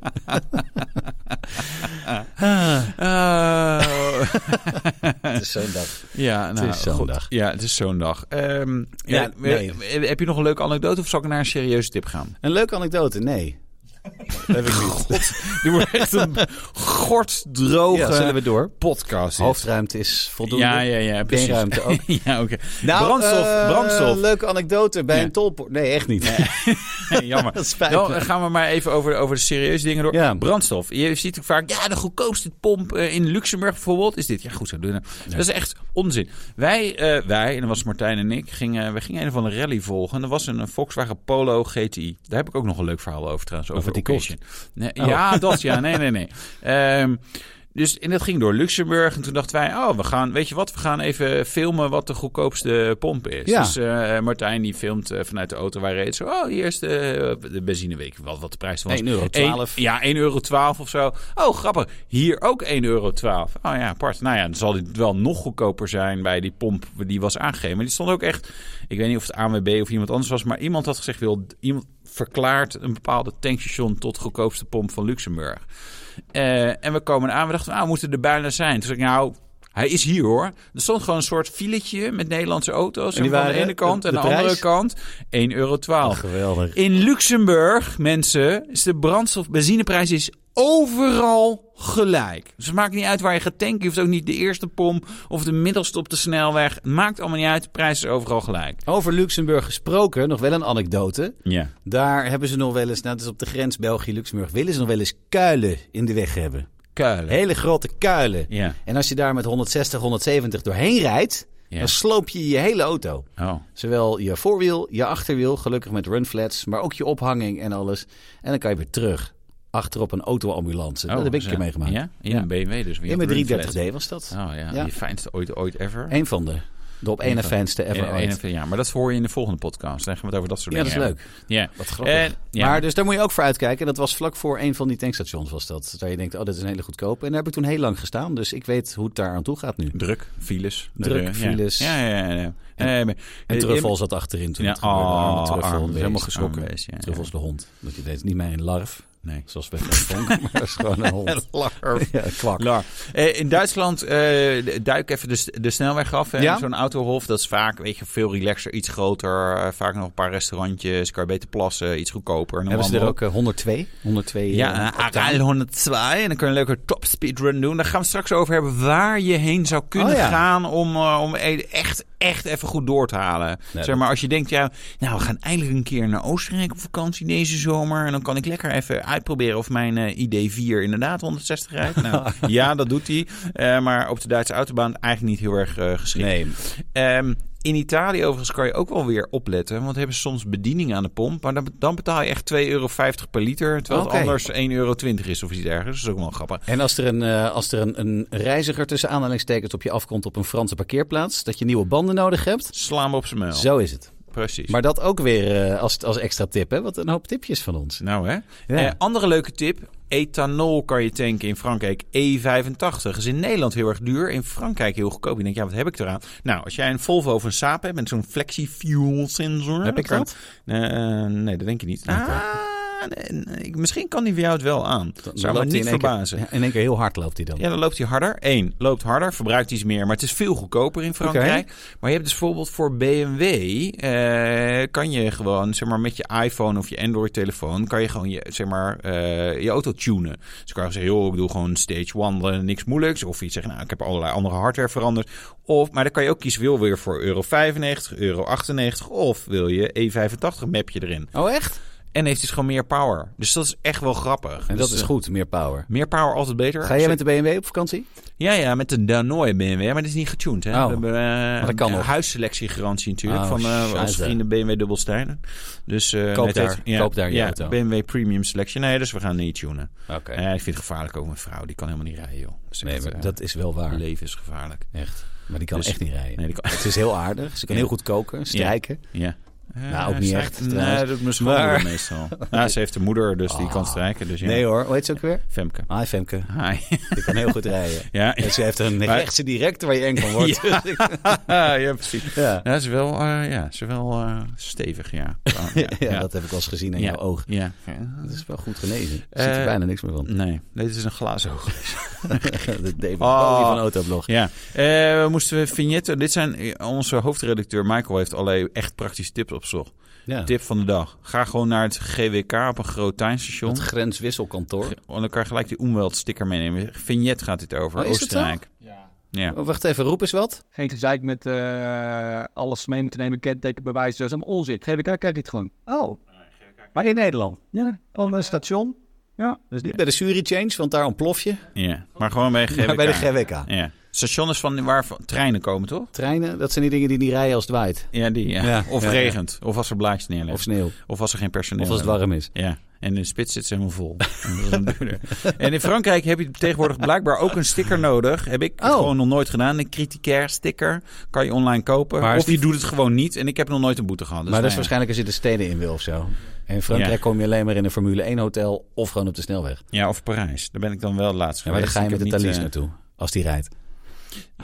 Speaker 1: Ah,
Speaker 2: Oh.
Speaker 1: het is zo'n dag.
Speaker 2: Ja, nou,
Speaker 1: is zo'n
Speaker 2: goed.
Speaker 1: dag.
Speaker 2: Ja, het is zo'n dag. Ehm, ja,
Speaker 1: Ja,
Speaker 2: eh,
Speaker 1: nee.
Speaker 2: eh, Heb je nog een leuke anekdote of zal ik naar een serieuze tip gaan?
Speaker 1: Een leuke anekdote, nee. Dat heb ik niet.
Speaker 2: Die wordt echt een gortdroge
Speaker 1: Ja, zullen we door?
Speaker 2: podcast. dit.
Speaker 1: Hoofdruimte is voldoende.
Speaker 2: Ja, ja, ja, precies.
Speaker 1: Beenruimte ook.
Speaker 2: ja, oké. brandstof,
Speaker 1: eh,
Speaker 2: brandstof.
Speaker 1: Leuke anekdote bij
Speaker 2: Ja.
Speaker 1: een tolpoort. Nee, echt niet.
Speaker 2: Nee, jammer.
Speaker 1: Dat is spijtig.
Speaker 2: Nou, Dan gaan we maar even over, over de serieuze dingen door.
Speaker 1: Ja.
Speaker 2: Brandstof. Je ziet ook vaak, ja, de goedkoopste pomp eh, in Luxemburg bijvoorbeeld is dit. Ja, goed zo doen. we dat. Dat is echt onzin. Wij, eh, wij, en dat was Martijn en ik, gingen, we gingen een van de rally volgen. En dat was een, eh, Volkswagen Polo GTI. Daar heb ik ook nog een leuk verhaal over trouwens. Over
Speaker 1: Wat die
Speaker 2: Occasion. Nee,
Speaker 1: Oh.
Speaker 2: Ja, dat ja. Nee, nee, nee. Ehm, Dus en dat ging door Luxemburg. En toen dachten wij, oh, we gaan, weet je wat, we gaan even filmen wat de goedkoopste pomp is.
Speaker 1: Ja.
Speaker 2: Dus eh, Martijn die filmt eh, vanuit de auto waar hij reed. Zo, oh, hier is de, eh, de benzine, weet ik wel wat de prijs was.
Speaker 1: 1,12 euro.
Speaker 2: Eén- ja, 1,12 euro of zo. Oh, grappig. Hier ook 1,12 euro. Oh ja, apart. Nou ja, dan zal dit wel nog goedkoper zijn bij die pomp die was aangegeven. Maar die stond ook echt, ik weet niet of het ANWB of iemand anders was, maar iemand had gezegd, wil, iemand verklaart een bepaalde tankstation tot goedkoopste pomp van Luxemburg. Eh, en we komen aan, we dachten, nou, we moeten er bijna zijn. Toen zei ik, nou... Hij is hier hoor. Er stond gewoon een soort filetje met Nederlandse auto's.
Speaker 1: En die
Speaker 2: aan de
Speaker 1: waren
Speaker 2: ene kant
Speaker 1: de-
Speaker 2: en
Speaker 1: de
Speaker 2: aan de andere
Speaker 1: prijs?
Speaker 2: kant 1,12 euro.
Speaker 1: Geweldig.
Speaker 2: In Luxemburg, mensen, is de brandstof, benzineprijs is overal gelijk. Dus het maakt niet uit waar je gaat tanken. Je hoeft ook niet de eerste pomp of de middelste op de snelweg. Het maakt allemaal niet uit. De prijs is overal gelijk.
Speaker 1: Over Luxemburg gesproken, nog wel een anekdote.
Speaker 2: Ja.
Speaker 1: Daar hebben ze nog wel eens, nou, het is op de grens België-Luxemburg, willen ze nog wel eens kuilen in de weg hebben.
Speaker 2: Kuilen.
Speaker 1: Hele grote kuilen.
Speaker 2: Ja.
Speaker 1: En als je daar met 160, 170 doorheen rijdt,
Speaker 2: Ja.
Speaker 1: dan sloop je je hele auto.
Speaker 2: Oh.
Speaker 1: Zowel je voorwiel, je achterwiel, gelukkig met runflats, maar ook je ophanging en alles. En dan kan je weer terug. Achterop een autoambulance. Nou,
Speaker 2: Oh,
Speaker 1: dat heb ik een
Speaker 2: zo.
Speaker 1: keer meegemaakt.
Speaker 2: Ja? In
Speaker 1: Ja.
Speaker 2: een BMW dus.
Speaker 1: In mijn 330D was dat.
Speaker 2: Oh ja,
Speaker 1: Ja.
Speaker 2: je fijnste ooit, ooit ever.
Speaker 1: Eén van de. De op
Speaker 2: Eén
Speaker 1: één na
Speaker 2: van-
Speaker 1: fijnste ever
Speaker 2: En-
Speaker 1: ooit.
Speaker 2: en- ja, maar dat hoor je in de volgende podcast. Dan gaan we het over dat soort
Speaker 1: Ja, dat
Speaker 2: dingen
Speaker 1: is leuk.
Speaker 2: Ja.
Speaker 1: Wat grappig.
Speaker 2: En- ja.
Speaker 1: Maar dus daar moet je ook voor uitkijken. Dat was vlak voor een van die tankstations was dat. Daar je denkt, oh, dit is een hele goedkope. En daar heb ik toen heel lang gestaan. Dus ik weet hoe het daar aan toe gaat nu.
Speaker 2: Druk, files.
Speaker 1: Druk,
Speaker 2: Ja.
Speaker 1: files.
Speaker 2: Ja, ja, ja. ja. Eh, maar-
Speaker 1: En
Speaker 2: eh,
Speaker 1: Truffel zat achterin toen
Speaker 2: Ja,
Speaker 1: het gebeurde. Arme
Speaker 2: oh,
Speaker 1: Truffel,
Speaker 2: arm
Speaker 1: wees,
Speaker 2: helemaal
Speaker 1: geschrokken.
Speaker 2: geschrokken. Wees, ja, ja.
Speaker 1: Truffel is Oh, de hond. Dat je deed niet meer een larf,
Speaker 2: Nee.
Speaker 1: zoals bij Frank Vonk, maar dat is gewoon een hond. Ja, een kwak.
Speaker 2: Lar. Eh, in Duitsland eh, duik even de, s- de snelweg af. hè.
Speaker 1: Ja.
Speaker 2: Zo'n autohof, dat is vaak weet je, veel relaxer, iets groter. eh, vaak nog een paar restaurantjes, kan je beter plassen, iets goedkoper. noem
Speaker 1: Hebben ze er
Speaker 2: allemaal
Speaker 1: ook eh, 102? 102 eh,
Speaker 2: Ja, ah,
Speaker 1: octaan?
Speaker 2: Aral 102. En dan kun je een leuke topspeed run doen. Daar gaan we het straks over hebben waar je heen zou kunnen
Speaker 1: Oh ja.
Speaker 2: gaan om, eh, om e- echt, echt even goed door te halen.
Speaker 1: Nee,
Speaker 2: zeg maar, als je denkt, ja, nou, we gaan eindelijk een keer naar Oostenrijk op vakantie deze zomer. En dan kan ik lekker even uitproberen of mijn eh, ID4 inderdaad 160 rijdt. Nou, ja, dat doet hij. Eh, maar op de Duitse autobaan eigenlijk niet heel erg eh, geschikt.
Speaker 1: Nee,
Speaker 2: Ehm, in Italië overigens kan je ook wel weer opletten. Want hebben ze soms bediening aan de pomp. Maar dan, dan betaal je echt 2,50 euro per liter. Terwijl
Speaker 1: Oké.
Speaker 2: het anders 1,20 euro is of iets dergelijks. Dat is ook wel grappig.
Speaker 1: En als er, een, eh, als er een, een reiziger tussen aanhalingstekens op je afkomt op een Franse parkeerplaats, dat je nieuwe banden nodig hebt,
Speaker 2: Sla hem op zijn muil.
Speaker 1: zo is het.
Speaker 2: Precies.
Speaker 1: Maar dat ook weer eh, als, als extra tip, hè? Wat een hoop tipjes van ons.
Speaker 2: Nou hè.
Speaker 1: Ja.
Speaker 2: Eh, andere leuke tip. Ethanol kan je tanken in Frankrijk E85. Is in Nederland heel erg duur. In Frankrijk heel goedkoop. Je denkt, ja, wat heb ik eraan? Nou, als jij een Volvo of een Saab hebt met zo'n flexi-fuel sensor.
Speaker 1: Heb ik
Speaker 2: dan kan-
Speaker 1: dat?
Speaker 2: Eh, nee, dat denk ik niet. Ah, nee, nee, misschien kan die voor jou het wel aan. Zou me
Speaker 1: loopt hij in
Speaker 2: niet
Speaker 1: één keer-
Speaker 2: verbazen.
Speaker 1: ja, in één keer heel hard loopt hij dan.
Speaker 2: Ja, dan loopt hij harder. Eén, loopt harder, verbruikt iets meer, maar het is veel goedkoper in Frankrijk. Maar je hebt dus bijvoorbeeld voor BMW, eh, kan je gewoon, zeg maar, met je iPhone of je Android-telefoon, kan je gewoon je, zeg maar, eh, je auto tunen. Dus kan je zeggen, joh, ik doe gewoon stage one, eh, niks moeilijks. Of je zegt, nou, ik heb allerlei andere hardware veranderd. Of, maar dan kan je ook kiezen, wil weer voor euro 95, euro 98, of wil je E85 mapje erin.
Speaker 1: Oh, echt?
Speaker 2: En heeft dus gewoon meer power. Dus dat is echt wel grappig.
Speaker 1: En
Speaker 2: Dus,
Speaker 1: dat is
Speaker 2: eh,
Speaker 1: goed, meer power.
Speaker 2: Meer power altijd beter.
Speaker 1: Ga jij met de BMW op vakantie?
Speaker 2: Ja, ja, met de Danois BMW. Maar dat is niet getuned, hè?
Speaker 1: Oh,
Speaker 2: We hebben eh,
Speaker 1: dat kan
Speaker 2: een
Speaker 1: nog.
Speaker 2: huisselectiegarantie natuurlijk
Speaker 1: Oh,
Speaker 2: van eh
Speaker 1: scheisse.
Speaker 2: onze vrienden BMW Dubbelsteinen. Dus, eh,
Speaker 1: Koop
Speaker 2: het
Speaker 1: daar-
Speaker 2: heet-
Speaker 1: koop daar je
Speaker 2: ja,
Speaker 1: auto.
Speaker 2: BMW Premium Selection. Nee, dus we gaan niet tunen.
Speaker 1: Oké.
Speaker 2: Eh, ik vind het gevaarlijk ook mijn vrouw. Die kan helemaal niet rijden, joh. Dat is
Speaker 1: Nee,
Speaker 2: echt,
Speaker 1: maar
Speaker 2: eh,
Speaker 1: dat is wel
Speaker 2: haar
Speaker 1: waar.
Speaker 2: leven is gevaarlijk.
Speaker 1: Echt. Maar die kan
Speaker 2: Dus-
Speaker 1: echt niet rijden.
Speaker 2: Nee, die kan...
Speaker 1: Het is heel aardig. Ze kan
Speaker 2: Ja.
Speaker 1: heel goed koken, strijken.
Speaker 2: Ja.
Speaker 1: Nou, ook niet
Speaker 2: Eh,
Speaker 1: echt,
Speaker 2: strijk-
Speaker 1: trouwens.
Speaker 2: Nee, dat moet
Speaker 1: Maar- Oh.
Speaker 2: maar... meestal. Nou, ze heeft een moeder, dus die kan strijken. Dus ja,
Speaker 1: Nee hoor, hoe heet ze ook weer?
Speaker 2: Femke.
Speaker 1: Hi Ah, Femke.
Speaker 2: Hi.
Speaker 1: Die kan heel goed rijden.
Speaker 2: ja,
Speaker 1: En ze heeft een rechtse directe waar je eng van wordt. Ja.
Speaker 2: ja, precies.
Speaker 1: Ja.
Speaker 2: Ja, ze is wel, eh, ja, ze is wel eh, stevig, ja. Ja,
Speaker 1: dat heb ik al eens gezien in
Speaker 2: Ja.
Speaker 1: jouw oog.
Speaker 2: Ja.
Speaker 1: Dat is wel goed genezen. Er
Speaker 2: Eh,
Speaker 1: zit er bijna niks meer van.
Speaker 2: Nee, dit is een glazen oog.
Speaker 1: De David
Speaker 2: Oh.
Speaker 1: Bowie van Autoblog.
Speaker 2: Ja, Eh, we moesten vignetten. Dit zijn eh, onze hoofdredacteur Michael heeft allerlei echt praktische tips opgezocht.
Speaker 1: Ja.
Speaker 2: Tip van de dag: ga gewoon naar het GWK op een groot tuinstation.
Speaker 1: Het grenswisselkantoor.
Speaker 2: En dan kan je gelijk die Umwelt sticker meenemen. Vignet gaat dit over
Speaker 1: Oh, is het
Speaker 2: Oostenrijk.
Speaker 3: Ja.
Speaker 2: Ja.
Speaker 1: Oh, wacht even, roep eens wat.
Speaker 3: Geen gezeik met eh, alles mee moeten nemen, kentekenbewijs, dat is allemaal onzin. GWK krijg je het gewoon. Oh, maar in Nederland? Ja, op een station. Ja, dus
Speaker 1: Niet bij de Jury Change, want daar ontplof je.
Speaker 2: ja, maar gewoon bij GWK.
Speaker 1: Maar bij de GWK.
Speaker 2: ja. Station is van waar van- treinen komen, toch?
Speaker 1: Treinen, dat zijn die dingen die niet rijden als het waait.
Speaker 2: Ja, die. Ja.
Speaker 1: Ja,
Speaker 2: Of
Speaker 1: ja, ja.
Speaker 2: regent. Of als er blaadjes neerleggen.
Speaker 1: Of sneeuw.
Speaker 2: Of als er geen personeel
Speaker 1: Of als het
Speaker 2: hebben.
Speaker 1: warm is.
Speaker 2: Ja. En in de spits zit ze helemaal vol. En dat is dan duurder. en in Frankrijk heb je tegenwoordig blijkbaar ook een sticker nodig. Heb ik
Speaker 1: Oh.
Speaker 2: gewoon nog nooit gedaan. Een criticaire sticker. Kan je online kopen.
Speaker 1: Maar is
Speaker 2: of die
Speaker 1: die-
Speaker 2: doet het gewoon niet. En ik heb nog nooit een boete gehad. Dus
Speaker 1: maar dat is
Speaker 2: nou ja.
Speaker 1: waarschijnlijk als je de steden in wil of zo. En in Frankrijk
Speaker 2: Ja.
Speaker 1: kom je alleen maar in een Formule 1 hotel of gewoon op de snelweg.
Speaker 2: Ja, of Parijs. Daar ben ik dan wel laatst
Speaker 1: Ja, maar dan
Speaker 2: geweest.
Speaker 1: ga je
Speaker 2: Ik
Speaker 1: met de
Speaker 2: heb niet,
Speaker 1: Thalys
Speaker 2: eh,
Speaker 1: naartoe, als die rijdt.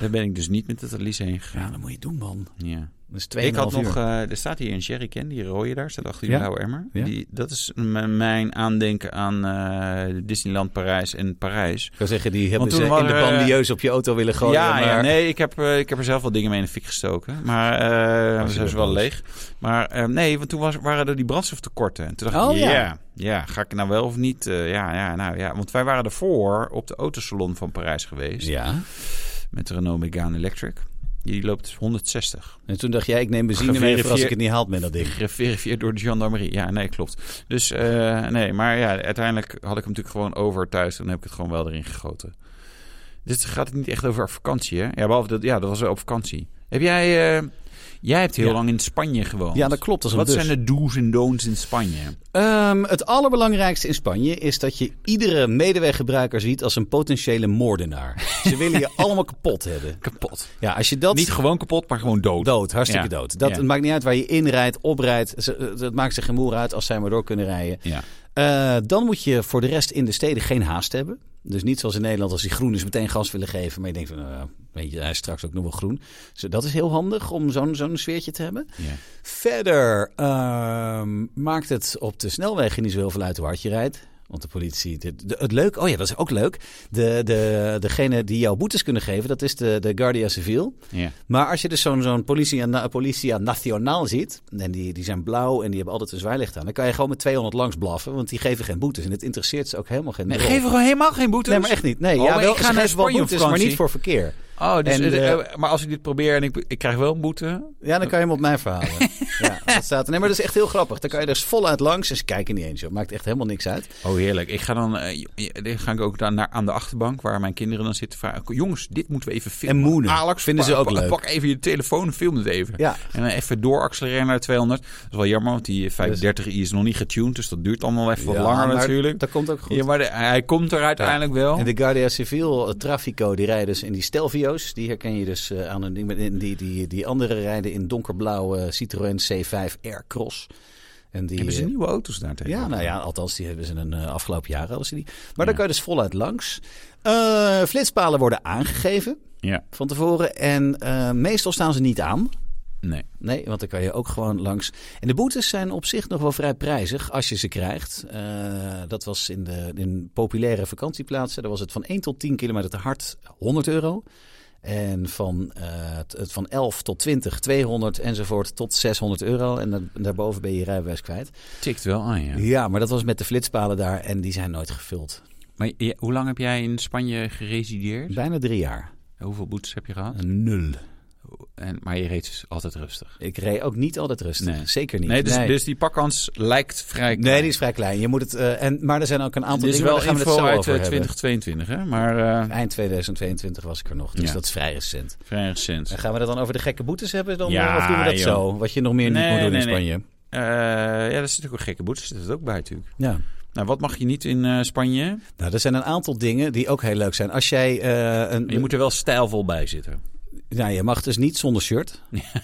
Speaker 2: Daar ben ik dus niet met de Thalys heen gegaan.
Speaker 1: Ja, dat moet je doen, man.
Speaker 2: Ja.
Speaker 1: Dat is 2,5
Speaker 2: Ik had nog,
Speaker 1: uur.
Speaker 2: eh, er staat hier een sherry can, die rode daar, staat achter die
Speaker 1: Ja?
Speaker 2: blauwe emmer.
Speaker 1: Ja.
Speaker 2: Die, dat is m- mijn aandenken aan eh, Disneyland Parijs en Parijs.
Speaker 1: Ik wil zeggen, die hebben
Speaker 2: Want
Speaker 1: ze
Speaker 2: toen
Speaker 1: in de
Speaker 2: waren, eh,
Speaker 1: bandieus op je auto willen gooien.
Speaker 2: ja,
Speaker 1: maar...
Speaker 2: ja, nee, ik heb, eh, ik heb er zelf wel dingen mee in de fik gestoken. Maar eh
Speaker 1: Was
Speaker 2: ze
Speaker 1: je
Speaker 2: zijn
Speaker 1: weer
Speaker 2: ze wel
Speaker 1: boos?
Speaker 2: leeg. Maar eh, nee, want toen was, waren er die brandstoftekorten. En toen dacht
Speaker 1: Oh,
Speaker 2: ik,
Speaker 1: ja.
Speaker 2: ja, ja, ga ik nou wel of niet? Eh, ja, ja, nou ja. Want wij waren ervoor op de autosalon van Parijs geweest.
Speaker 1: Ja,
Speaker 2: Met de Renault Megane Electric. Die loopt dus 160.
Speaker 1: en toen dacht jij, ik neem benzine mee voor als ik het niet haal met dat ding.
Speaker 2: Geverifieerd door de gendarmerie. Ja, nee, klopt. Dus eh, nee, maar ja, uiteindelijk had ik hem natuurlijk gewoon over thuis. Dan heb ik het gewoon wel erin gegoten. Dit gaat niet echt over vakantie, hè? Ja, behalve dat, ja, dat was wel op vakantie. Heb jij, eh, jij hebt heel
Speaker 1: Ja.
Speaker 2: lang in Spanje gewoond.
Speaker 1: Ja, dat klopt. Dat is een
Speaker 2: Wat
Speaker 1: bus.
Speaker 2: zijn de do's en don'ts in Spanje?
Speaker 1: Ehm, het allerbelangrijkste in Spanje is dat je iedere medeweggebruiker ziet als een potentiële moordenaar. Ze willen je allemaal kapot hebben.
Speaker 2: Kapot.
Speaker 1: Ja, als je dat...
Speaker 2: Niet gewoon kapot, maar gewoon dood.
Speaker 1: Dood, hartstikke
Speaker 2: Ja.
Speaker 1: dood. Dat
Speaker 2: Ja.
Speaker 1: het maakt niet uit waar je inrijdt, oprijdt. Ze- eh, Dat maakt ze geen moer uit als zij maar door kunnen rijden.
Speaker 2: Ja.
Speaker 1: Eh, dan moet je voor de rest in de steden geen haast hebben. Dus niet zoals in Nederland als die groeners meteen gas willen geven. Maar je denkt van, eh, weet je, hij is straks ook nog wel groen. Dus dat is heel handig om zo'n zo'n sfeertje te hebben.
Speaker 2: Ja.
Speaker 1: Verder ehm, maakt het op de snelwegen niet zo heel veel uit hoe hard je rijdt. Want de politie, de, de- het leuk, oh ja, dat is ook leuk. De, de, degene die jou boetes kunnen geven, dat is de, de Guardia Civil.
Speaker 2: Ja.
Speaker 1: Maar als je dus zo'n zo'n policia, na, policia nationaal ziet, en die, die zijn blauw en die hebben altijd een zwaailicht aan, dan kan je gewoon met 200 langs blaffen, want die geven geen boetes. En het interesseert ze ook helemaal geen
Speaker 2: Nee,
Speaker 1: drol.
Speaker 2: geef er gewoon helemaal geen boetes.
Speaker 1: Nee, maar echt niet. Nee,
Speaker 2: Oh,
Speaker 1: ja,
Speaker 2: maar
Speaker 1: wel,
Speaker 2: ik
Speaker 1: ik
Speaker 2: ga naar
Speaker 1: wel
Speaker 2: Spanje op
Speaker 1: boetes, maar
Speaker 2: vakantie.
Speaker 1: niet voor verkeer.
Speaker 2: Oh, dus,
Speaker 1: En,
Speaker 2: eh,
Speaker 1: eh,
Speaker 2: eh, maar als ik dit probeer en ik, ik krijg wel een boete...
Speaker 1: Ja, dan kan je hem op mij verhalen. ja, dat staat er. Nee, maar dat is echt heel grappig. Dan kan je dus voluit langs en ze kijken niet eens op. Maakt echt helemaal niks uit.
Speaker 2: Oh, heerlijk. Ik ga dan, eh, j- dan ga ik ook dan naar, aan de achterbank waar mijn kinderen dan zitten. Vragen, jongens, dit moeten we even filmen.
Speaker 1: En moenen.
Speaker 2: Alex,
Speaker 1: Vinden
Speaker 2: pak-
Speaker 1: ze ook
Speaker 2: pak-
Speaker 1: leuk.
Speaker 2: Pak even je telefoon en film het even.
Speaker 1: Ja.
Speaker 2: En dan even dooraccelereren naar 200. Dat is wel jammer, want die 530i is nog niet getuned. Dus dat duurt allemaal even wat
Speaker 1: Ja,
Speaker 2: langer
Speaker 1: maar
Speaker 2: natuurlijk.
Speaker 1: Dat komt ook goed.
Speaker 2: Ja, maar de- hij komt er uiteindelijk wel.
Speaker 1: En de Guardia Civil eh, Trafico, die rijden dus in die Stelvio's. Die herken je dus eh, aan hun ding. Maar Die, die, die, die anderen rijden in donkerblauwe Citroën C5 R Cross. En die,
Speaker 2: Hebben ze
Speaker 1: eh,
Speaker 2: nieuwe auto's daar tegen?
Speaker 1: Ja, nou ja, althans, die hebben ze in een eh, afgelopen jaar hadden ze die. Maar daar kan je dus voluit langs. Eh, flitspalen worden aangegeven
Speaker 2: Ja,
Speaker 1: van tevoren. En eh, meestal staan ze niet aan.
Speaker 2: nee.
Speaker 1: Nee, want dan kan je ook gewoon langs. En de boetes zijn op zich nog wel vrij prijzig als je ze krijgt. Eh, dat was in de in populaire vakantieplaatsen. Daar was het van 1 tot 10 kilometer te hard 100 euro. En van, eh, het- het van 11 tot 20, 200 enzovoort tot 600 euro. En dan- daarboven ben je je rijbewijs kwijt.
Speaker 2: Tikt wel aan, ja.
Speaker 1: Ja. maar dat was met de flitspalen daar en die zijn nooit gevuld.
Speaker 2: Maar je- hoe lang heb jij in Spanje geresideerd?
Speaker 1: Bijna drie jaar.
Speaker 2: Hoeveel boetes heb je gehad?
Speaker 1: Nul.
Speaker 2: En, maar je reed dus altijd rustig.
Speaker 1: Ik reed ook niet altijd rustig.
Speaker 2: Nee.
Speaker 1: Zeker niet.
Speaker 2: Nee, dus, dus die pakkans lijkt vrij klein.
Speaker 1: Nee, die is vrij klein. Je moet het, eh, en, maar er zijn ook een aantal
Speaker 2: Dit is
Speaker 1: dingen
Speaker 2: wel
Speaker 1: waar gaan we het
Speaker 2: info
Speaker 1: zo
Speaker 2: uit
Speaker 1: over
Speaker 2: eh,
Speaker 1: hebben.
Speaker 2: 2022, hè? Maar eh,
Speaker 1: Eind 2022 was ik er nog, dus
Speaker 2: Ja.
Speaker 1: dat is vrij recent.
Speaker 2: vrij recent.
Speaker 1: En gaan we dat dan over de gekke boetes hebben? Dan,
Speaker 2: Ja,
Speaker 1: eh, of doen we dat
Speaker 2: joh.
Speaker 1: zo? Wat je nog meer niet
Speaker 2: Nee,
Speaker 1: moet doen
Speaker 2: nee,
Speaker 1: in
Speaker 2: nee.
Speaker 1: Spanje.
Speaker 2: Eh, ja, daar zit ook een gekke boetes. Dat zit ook bij natuurlijk.
Speaker 1: Ja.
Speaker 2: Nou, wat mag je niet in eh, Spanje?
Speaker 1: Nou, er zijn een aantal dingen die ook heel leuk zijn. Als jij eh, een...
Speaker 2: Je moet er wel stijlvol bij zitten.
Speaker 1: Nou, je mag dus niet zonder shirt.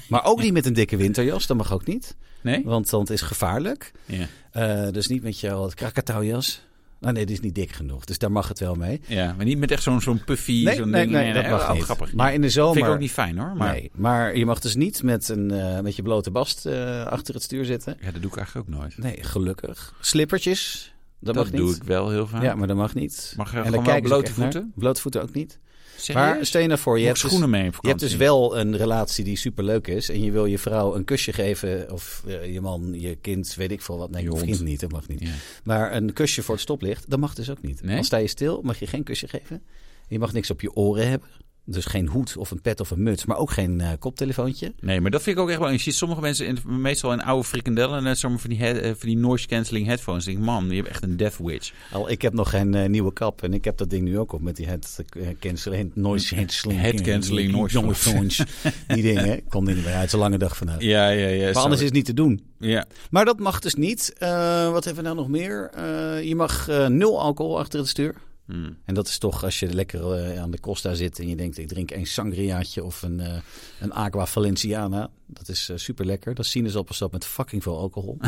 Speaker 1: maar ook niet met een dikke winterjas. Dat mag ook niet.
Speaker 2: Nee?
Speaker 1: Want dat is gevaarlijk.
Speaker 2: Ja.
Speaker 1: Eh, dus niet met jouw krakataujas. Nou nee, die is niet dik genoeg. Dus daar mag het wel mee.
Speaker 2: ja, maar niet met echt zo'n zo'n puffy.
Speaker 1: Nee,
Speaker 2: zo'n
Speaker 1: nee,
Speaker 2: ding.
Speaker 1: nee, dat mag
Speaker 2: oh,
Speaker 1: niet.
Speaker 2: grappig.
Speaker 1: Maar in de zomer...
Speaker 2: Vind ik ook niet fijn hoor. Maar
Speaker 1: Nee, maar je mag dus niet met, een, eh, met je blote bast eh, achter het stuur zitten.
Speaker 2: ja, dat doe ik eigenlijk ook nooit.
Speaker 1: Nee, gelukkig. Slippertjes, dat,
Speaker 2: dat
Speaker 1: mag
Speaker 2: doe
Speaker 1: niet.
Speaker 2: ik wel heel vaak.
Speaker 1: Ja, maar dat mag niet.
Speaker 2: Mag je
Speaker 1: En
Speaker 2: gewoon
Speaker 1: dan
Speaker 2: wel
Speaker 1: kijken ze ook
Speaker 2: blote
Speaker 1: echt naar.
Speaker 2: voeten?
Speaker 1: Blote voeten ook niet.
Speaker 2: Serieus?
Speaker 1: Maar stel je nou voor, je
Speaker 2: Moet
Speaker 1: hebt, dus,
Speaker 2: schoenen mee op
Speaker 1: je hebt dus
Speaker 2: vakantie?
Speaker 1: wel een relatie die superleuk is. En je wil je vrouw een kusje geven. Of eh, je man, je kind, weet ik veel wat. Nee,
Speaker 2: Je
Speaker 1: je
Speaker 2: hond.
Speaker 1: vriend niet, dat mag niet.
Speaker 2: Ja.
Speaker 1: Maar een kusje voor het stoplicht, dat mag dus ook niet.
Speaker 2: Nee?
Speaker 1: Dan sta je stil, mag je geen kusje geven. Je mag niks op je oren hebben. Dus geen hoed of een pet of een muts, maar ook geen eh, koptelefoontje.
Speaker 2: Nee, maar dat vind ik ook echt wel. Je ziet sommige mensen in, meestal in oude frikandellen net zomaar van die, he- eh, van die noise cancelling headphones. Ik denk, man, je hebt echt een death witch.
Speaker 1: Al, ik heb nog geen eh, nieuwe kap en ik heb dat ding nu ook op met die head eh, cancelling, noise cancelling.
Speaker 2: Head cancelling,
Speaker 1: eh,
Speaker 2: noise
Speaker 1: noise Die dingen, ik kon er niet meer uit. Het is een lange dag vandaag.
Speaker 2: Ja, ja, ja.
Speaker 1: maar anders is het niet te doen.
Speaker 2: Ja.
Speaker 1: Maar dat mag dus niet. Eh, wat hebben we nou nog meer? Eh, je mag eh, nul alcohol achter het stuur.
Speaker 2: Hm.
Speaker 1: En dat is toch als je lekker eh, aan de Costa zit en je denkt: ik drink een sangriaatje of een, eh, een Aqua Valenciana. Dat is super lekker. Dat is sinaasappelsap met fucking veel alcohol.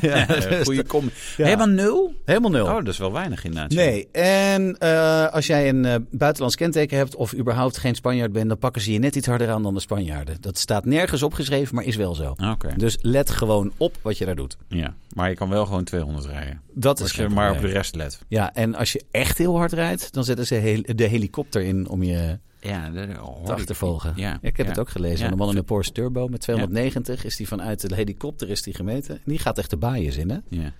Speaker 1: ja,
Speaker 2: Eh, Goeie kom.
Speaker 1: Ja.
Speaker 2: Helemaal nul?
Speaker 1: Helemaal nul.
Speaker 2: Oh, dat is wel weinig inderdaad.
Speaker 1: Nee, en eh, als jij een eh, buitenlands kenteken hebt of überhaupt geen Spanjaard bent, dan pakken ze je net iets harder aan dan de Spanjaarden. Dat staat nergens opgeschreven, maar is wel zo.
Speaker 2: Oké.
Speaker 1: Dus let gewoon op wat je daar doet.
Speaker 2: Ja. Maar je kan wel gewoon 200 rijden.
Speaker 1: Dat is
Speaker 2: Als je
Speaker 1: geen
Speaker 2: maar op de
Speaker 1: probleem.
Speaker 2: rest let.
Speaker 1: Ja, en als je echt heel hard rijdt, dan zetten ze hel- de helikopter in om je
Speaker 2: Ja, dat hoor
Speaker 1: te achtervolgen.
Speaker 2: Ja,
Speaker 1: ik heb
Speaker 2: ja.
Speaker 1: het ook gelezen.
Speaker 2: Ja.
Speaker 1: Aan de man in de Porsche Turbo met 290 is die vanuit de helikopter is die gemeten. Die gaat echt de baaien in, hè?
Speaker 2: Ja.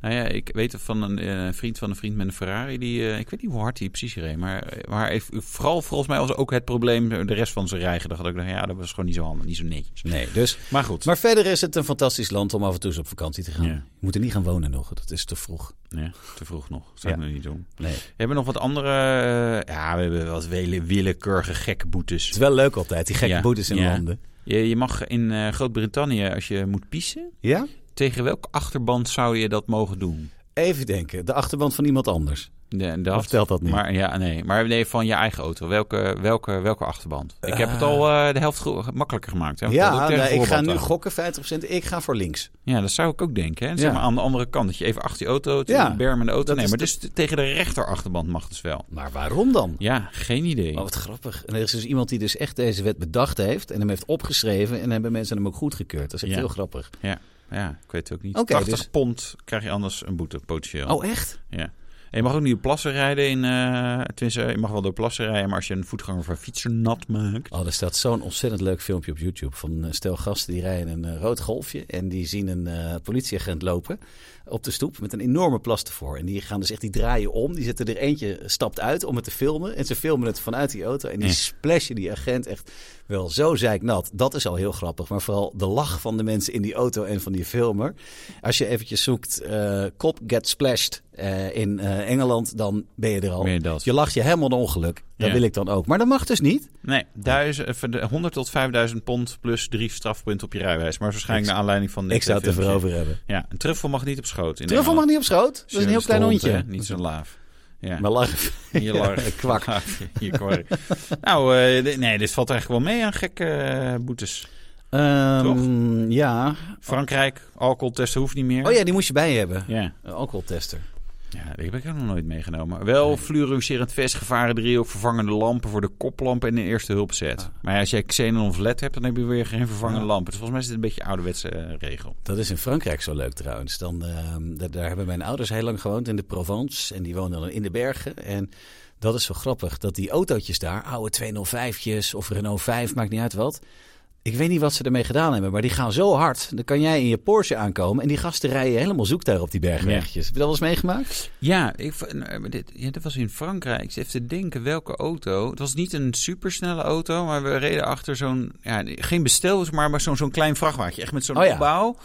Speaker 2: Nou ja, ik weet van een eh, vriend van een vriend met een Ferrari. Die, eh, ik weet niet hoe hard hij precies reed. Maar, eh, maar hij- vooral volgens mij was ook het probleem de rest van zijn rijgedrag. Dat ik dacht, ja, dat was gewoon niet zo handig. Niet zo netjes.
Speaker 1: Nee, dus...
Speaker 2: Maar goed.
Speaker 1: Maar verder is het een fantastisch land om af en toe eens op vakantie te gaan.
Speaker 2: Ja.
Speaker 1: Je moet er niet gaan wonen nog, dat is te vroeg.
Speaker 2: Nee, te vroeg nog. Zou ik
Speaker 1: Ja.
Speaker 2: nog niet doen.
Speaker 1: Nee.
Speaker 2: We hebben nog wat andere... eh, ja, we hebben wat wele- willekeurige gekke boetes.
Speaker 1: Het is wel leuk altijd, die gekke
Speaker 2: Ja,
Speaker 1: boetes in
Speaker 2: ja.
Speaker 1: landen.
Speaker 2: Je, je mag in eh, Groot-Brittannië, als je moet pissen...
Speaker 1: Ja?
Speaker 2: Tegen welke achterband zou je dat mogen doen?
Speaker 1: Even denken, de achterband van iemand anders.
Speaker 2: De,
Speaker 1: Of telt dat niet?
Speaker 2: Maar ja, nee. Maar nee, van je eigen auto. Welke, welke, welke achterband? Ik heb het al eh, de helft gro- makkelijker gemaakt. Hè? Want dat doe
Speaker 1: ja,
Speaker 2: ik tegen
Speaker 1: nou, ik ga
Speaker 2: voorbeeld
Speaker 1: nu
Speaker 2: aan.
Speaker 1: gokken 50%. Ik ga voor links.
Speaker 2: Ja, dat zou ik ook denken. Hè? Zeg
Speaker 1: Ja.
Speaker 2: maar aan de andere kant. Dat je even achter je auto,
Speaker 1: Ja,
Speaker 2: ja, een berm in de auto.
Speaker 1: dat
Speaker 2: Nee,
Speaker 1: is
Speaker 2: maar dus t- tegen de rechter achterband mag dus wel.
Speaker 1: Maar waarom dan?
Speaker 2: Ja, geen idee.
Speaker 1: Oh, wat grappig. En er is dus iemand die dus echt deze wet bedacht heeft en hem heeft opgeschreven en hebben mensen hem ook goedgekeurd. Dat is echt
Speaker 2: Ja.
Speaker 1: heel grappig.
Speaker 2: Ja, ik weet het ook niet.
Speaker 1: Oké,
Speaker 2: 80
Speaker 1: dus-
Speaker 2: pond krijg je anders een boete, potentieel.
Speaker 1: Oh, echt?
Speaker 2: Ja. En je mag ook niet op plassen rijden in... eh tenminste, je mag wel door plassen rijden, maar als je een voetganger of een fietser nat maakt...
Speaker 1: Oh, er staat zo'n ontzettend leuk filmpje op YouTube van eh, stel gasten die rijden een eh, rood golfje en die zien een eh, politieagent lopen op de stoep met een enorme plas ervoor. En die gaan dus echt, die draaien om, die zetten er eentje, stapt uit om het te filmen en ze filmen het vanuit die auto en die
Speaker 2: Ja.
Speaker 1: splashen die agent echt wel zo zeiknat. Dat is al heel grappig, maar vooral de lach van de mensen in die auto en van die filmer. Als je eventjes zoekt, eh kop get splashed eh, in eh, Engeland, dan ben je er al.
Speaker 2: Ben je dat.
Speaker 1: Je lacht je helemaal de ongeluk. Dat
Speaker 2: Ja.
Speaker 1: wil ik dan ook. Maar dat mag dus niet.
Speaker 2: Nee, duizend, eh, van de 100 tot 5000 pond plus drie strafpunten op je rijwijs. Maar waarschijnlijk
Speaker 1: Ik-
Speaker 2: naar aanleiding van... dit,
Speaker 1: Ik zou het
Speaker 2: eh,
Speaker 1: ervoor
Speaker 2: filmpje.
Speaker 1: over hebben.
Speaker 2: Ja, een truffel mag niet op schoot. in
Speaker 1: Truffel mag
Speaker 2: Nederland.
Speaker 1: niet op schoot. Dat is een heel
Speaker 2: Dus
Speaker 1: klein
Speaker 2: de hond,
Speaker 1: hondje.
Speaker 2: hè, Niet zo'n laaf. Ja,
Speaker 1: Maar lach.
Speaker 2: je lar.
Speaker 1: Kwak.
Speaker 2: je kwark. nou, eh, dit- nee, dit valt eigenlijk wel mee aan gekke eh, boetes.
Speaker 1: Ehm, ja.
Speaker 2: Frankrijk, alcoholtesten hoeft niet meer.
Speaker 1: Oh ja, die moest je bij je hebben.
Speaker 2: Ja.
Speaker 1: Een alcoholtester.
Speaker 2: Ja, die heb ik ook nog nooit meegenomen. Wel fluoriserend vest, gevarendriehoek, vervangende lampen voor de koplamp en de eerste hulpset. Maar als jij xenon of led hebt, dan heb je weer geen vervangende
Speaker 1: Ja.
Speaker 2: lampen. Dus volgens mij is dit een beetje een ouderwetse eh, regel.
Speaker 1: Dat is in Frankrijk zo leuk trouwens. Dan, ehm, daar, daar hebben mijn ouders heel lang gewoond in de Provence. En die woonden dan in de bergen. En dat is zo grappig. Dat die autootjes daar, oude 205'tjes of Renault 5, maakt niet uit wat. Ik weet niet wat ze ermee gedaan hebben, maar die gaan zo hard. Dan kan jij in je Porsche aankomen. En die gasten rijden helemaal zoek daar op die bergwegjes. Heb je dat wel eens meegemaakt?
Speaker 2: Ja, ik, v- nou, maar dit, ja, dat was in Frankrijk. Ik zit even te denken welke auto. Het was niet een supersnelle auto, maar we reden achter zo'n... Ja, geen bestel, maar, maar zo'n zo'n klein vrachtwagen. Echt met zo'n
Speaker 1: Oh ja.
Speaker 2: opbouw.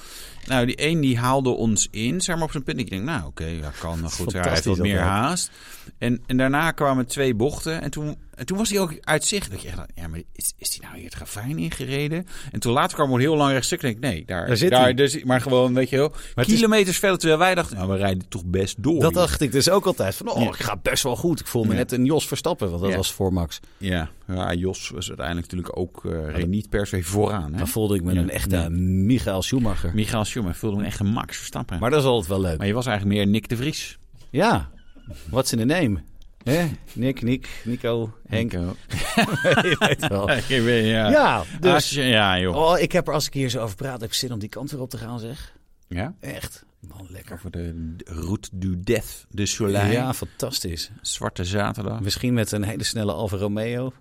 Speaker 2: Nou, die een die haalde ons in, zeg maar, op zijn punt. Ik denk, nou oké, ja, kan nou goed. Hij heeft
Speaker 1: Fantastisch
Speaker 2: wat meer
Speaker 1: dat ook.
Speaker 2: haast. En, en daarna kwamen twee bochten. En toen, en toen was hij ook uit zicht. Dat je echt dacht, ja, maar is, is hij nou hier het ravijn ingereden? En toen later kwam er een heel lang rechtstuk. En ik, nee, daar,
Speaker 1: Daar zit hij.
Speaker 2: dus, maar gewoon, weet je wel,
Speaker 1: het is-
Speaker 2: kilometers verder. Terwijl wij dachten, nou, we rijden toch best door.
Speaker 1: Dat
Speaker 2: hier.
Speaker 1: dacht ik dus ook altijd. Van, oh,
Speaker 2: Ja.
Speaker 1: ik ga best wel goed. Ik voel me
Speaker 2: Ja.
Speaker 1: net een Jos Verstappen, want dat
Speaker 2: Ja.
Speaker 1: was voor Max.
Speaker 2: Ja, ja, Jos was uiteindelijk natuurlijk ook eh, reed niet per se vooraan. Hè?
Speaker 1: Dan voelde ik me
Speaker 2: Ja.
Speaker 1: een echte
Speaker 2: Ja.
Speaker 1: Michael Schumacher.
Speaker 2: Michael Schumacher voelde hem echt een Max Verstappen. Maar,
Speaker 1: Maar dat is altijd wel leuk.
Speaker 2: je was eigenlijk meer Nick de Vries.
Speaker 1: Ja, what's in the name? Hè? Nick, Nick, Nico, Henk.
Speaker 2: Henk ook.
Speaker 1: Je weet wel.
Speaker 2: Ik weet, ja. Ja,
Speaker 1: Ja, dus...
Speaker 2: ja, joh.
Speaker 1: Oh, ik heb er, als ik hier zo over praat, heb ik zin om die kant weer op te gaan, zeg.
Speaker 2: Ja?
Speaker 1: Echt. Man, lekker.
Speaker 2: Over de Route du Death, de Soleil,
Speaker 1: Ja, fantastisch.
Speaker 2: Zwarte Zaterdag.
Speaker 1: Misschien met een hele snelle Alfa Romeo. Oh.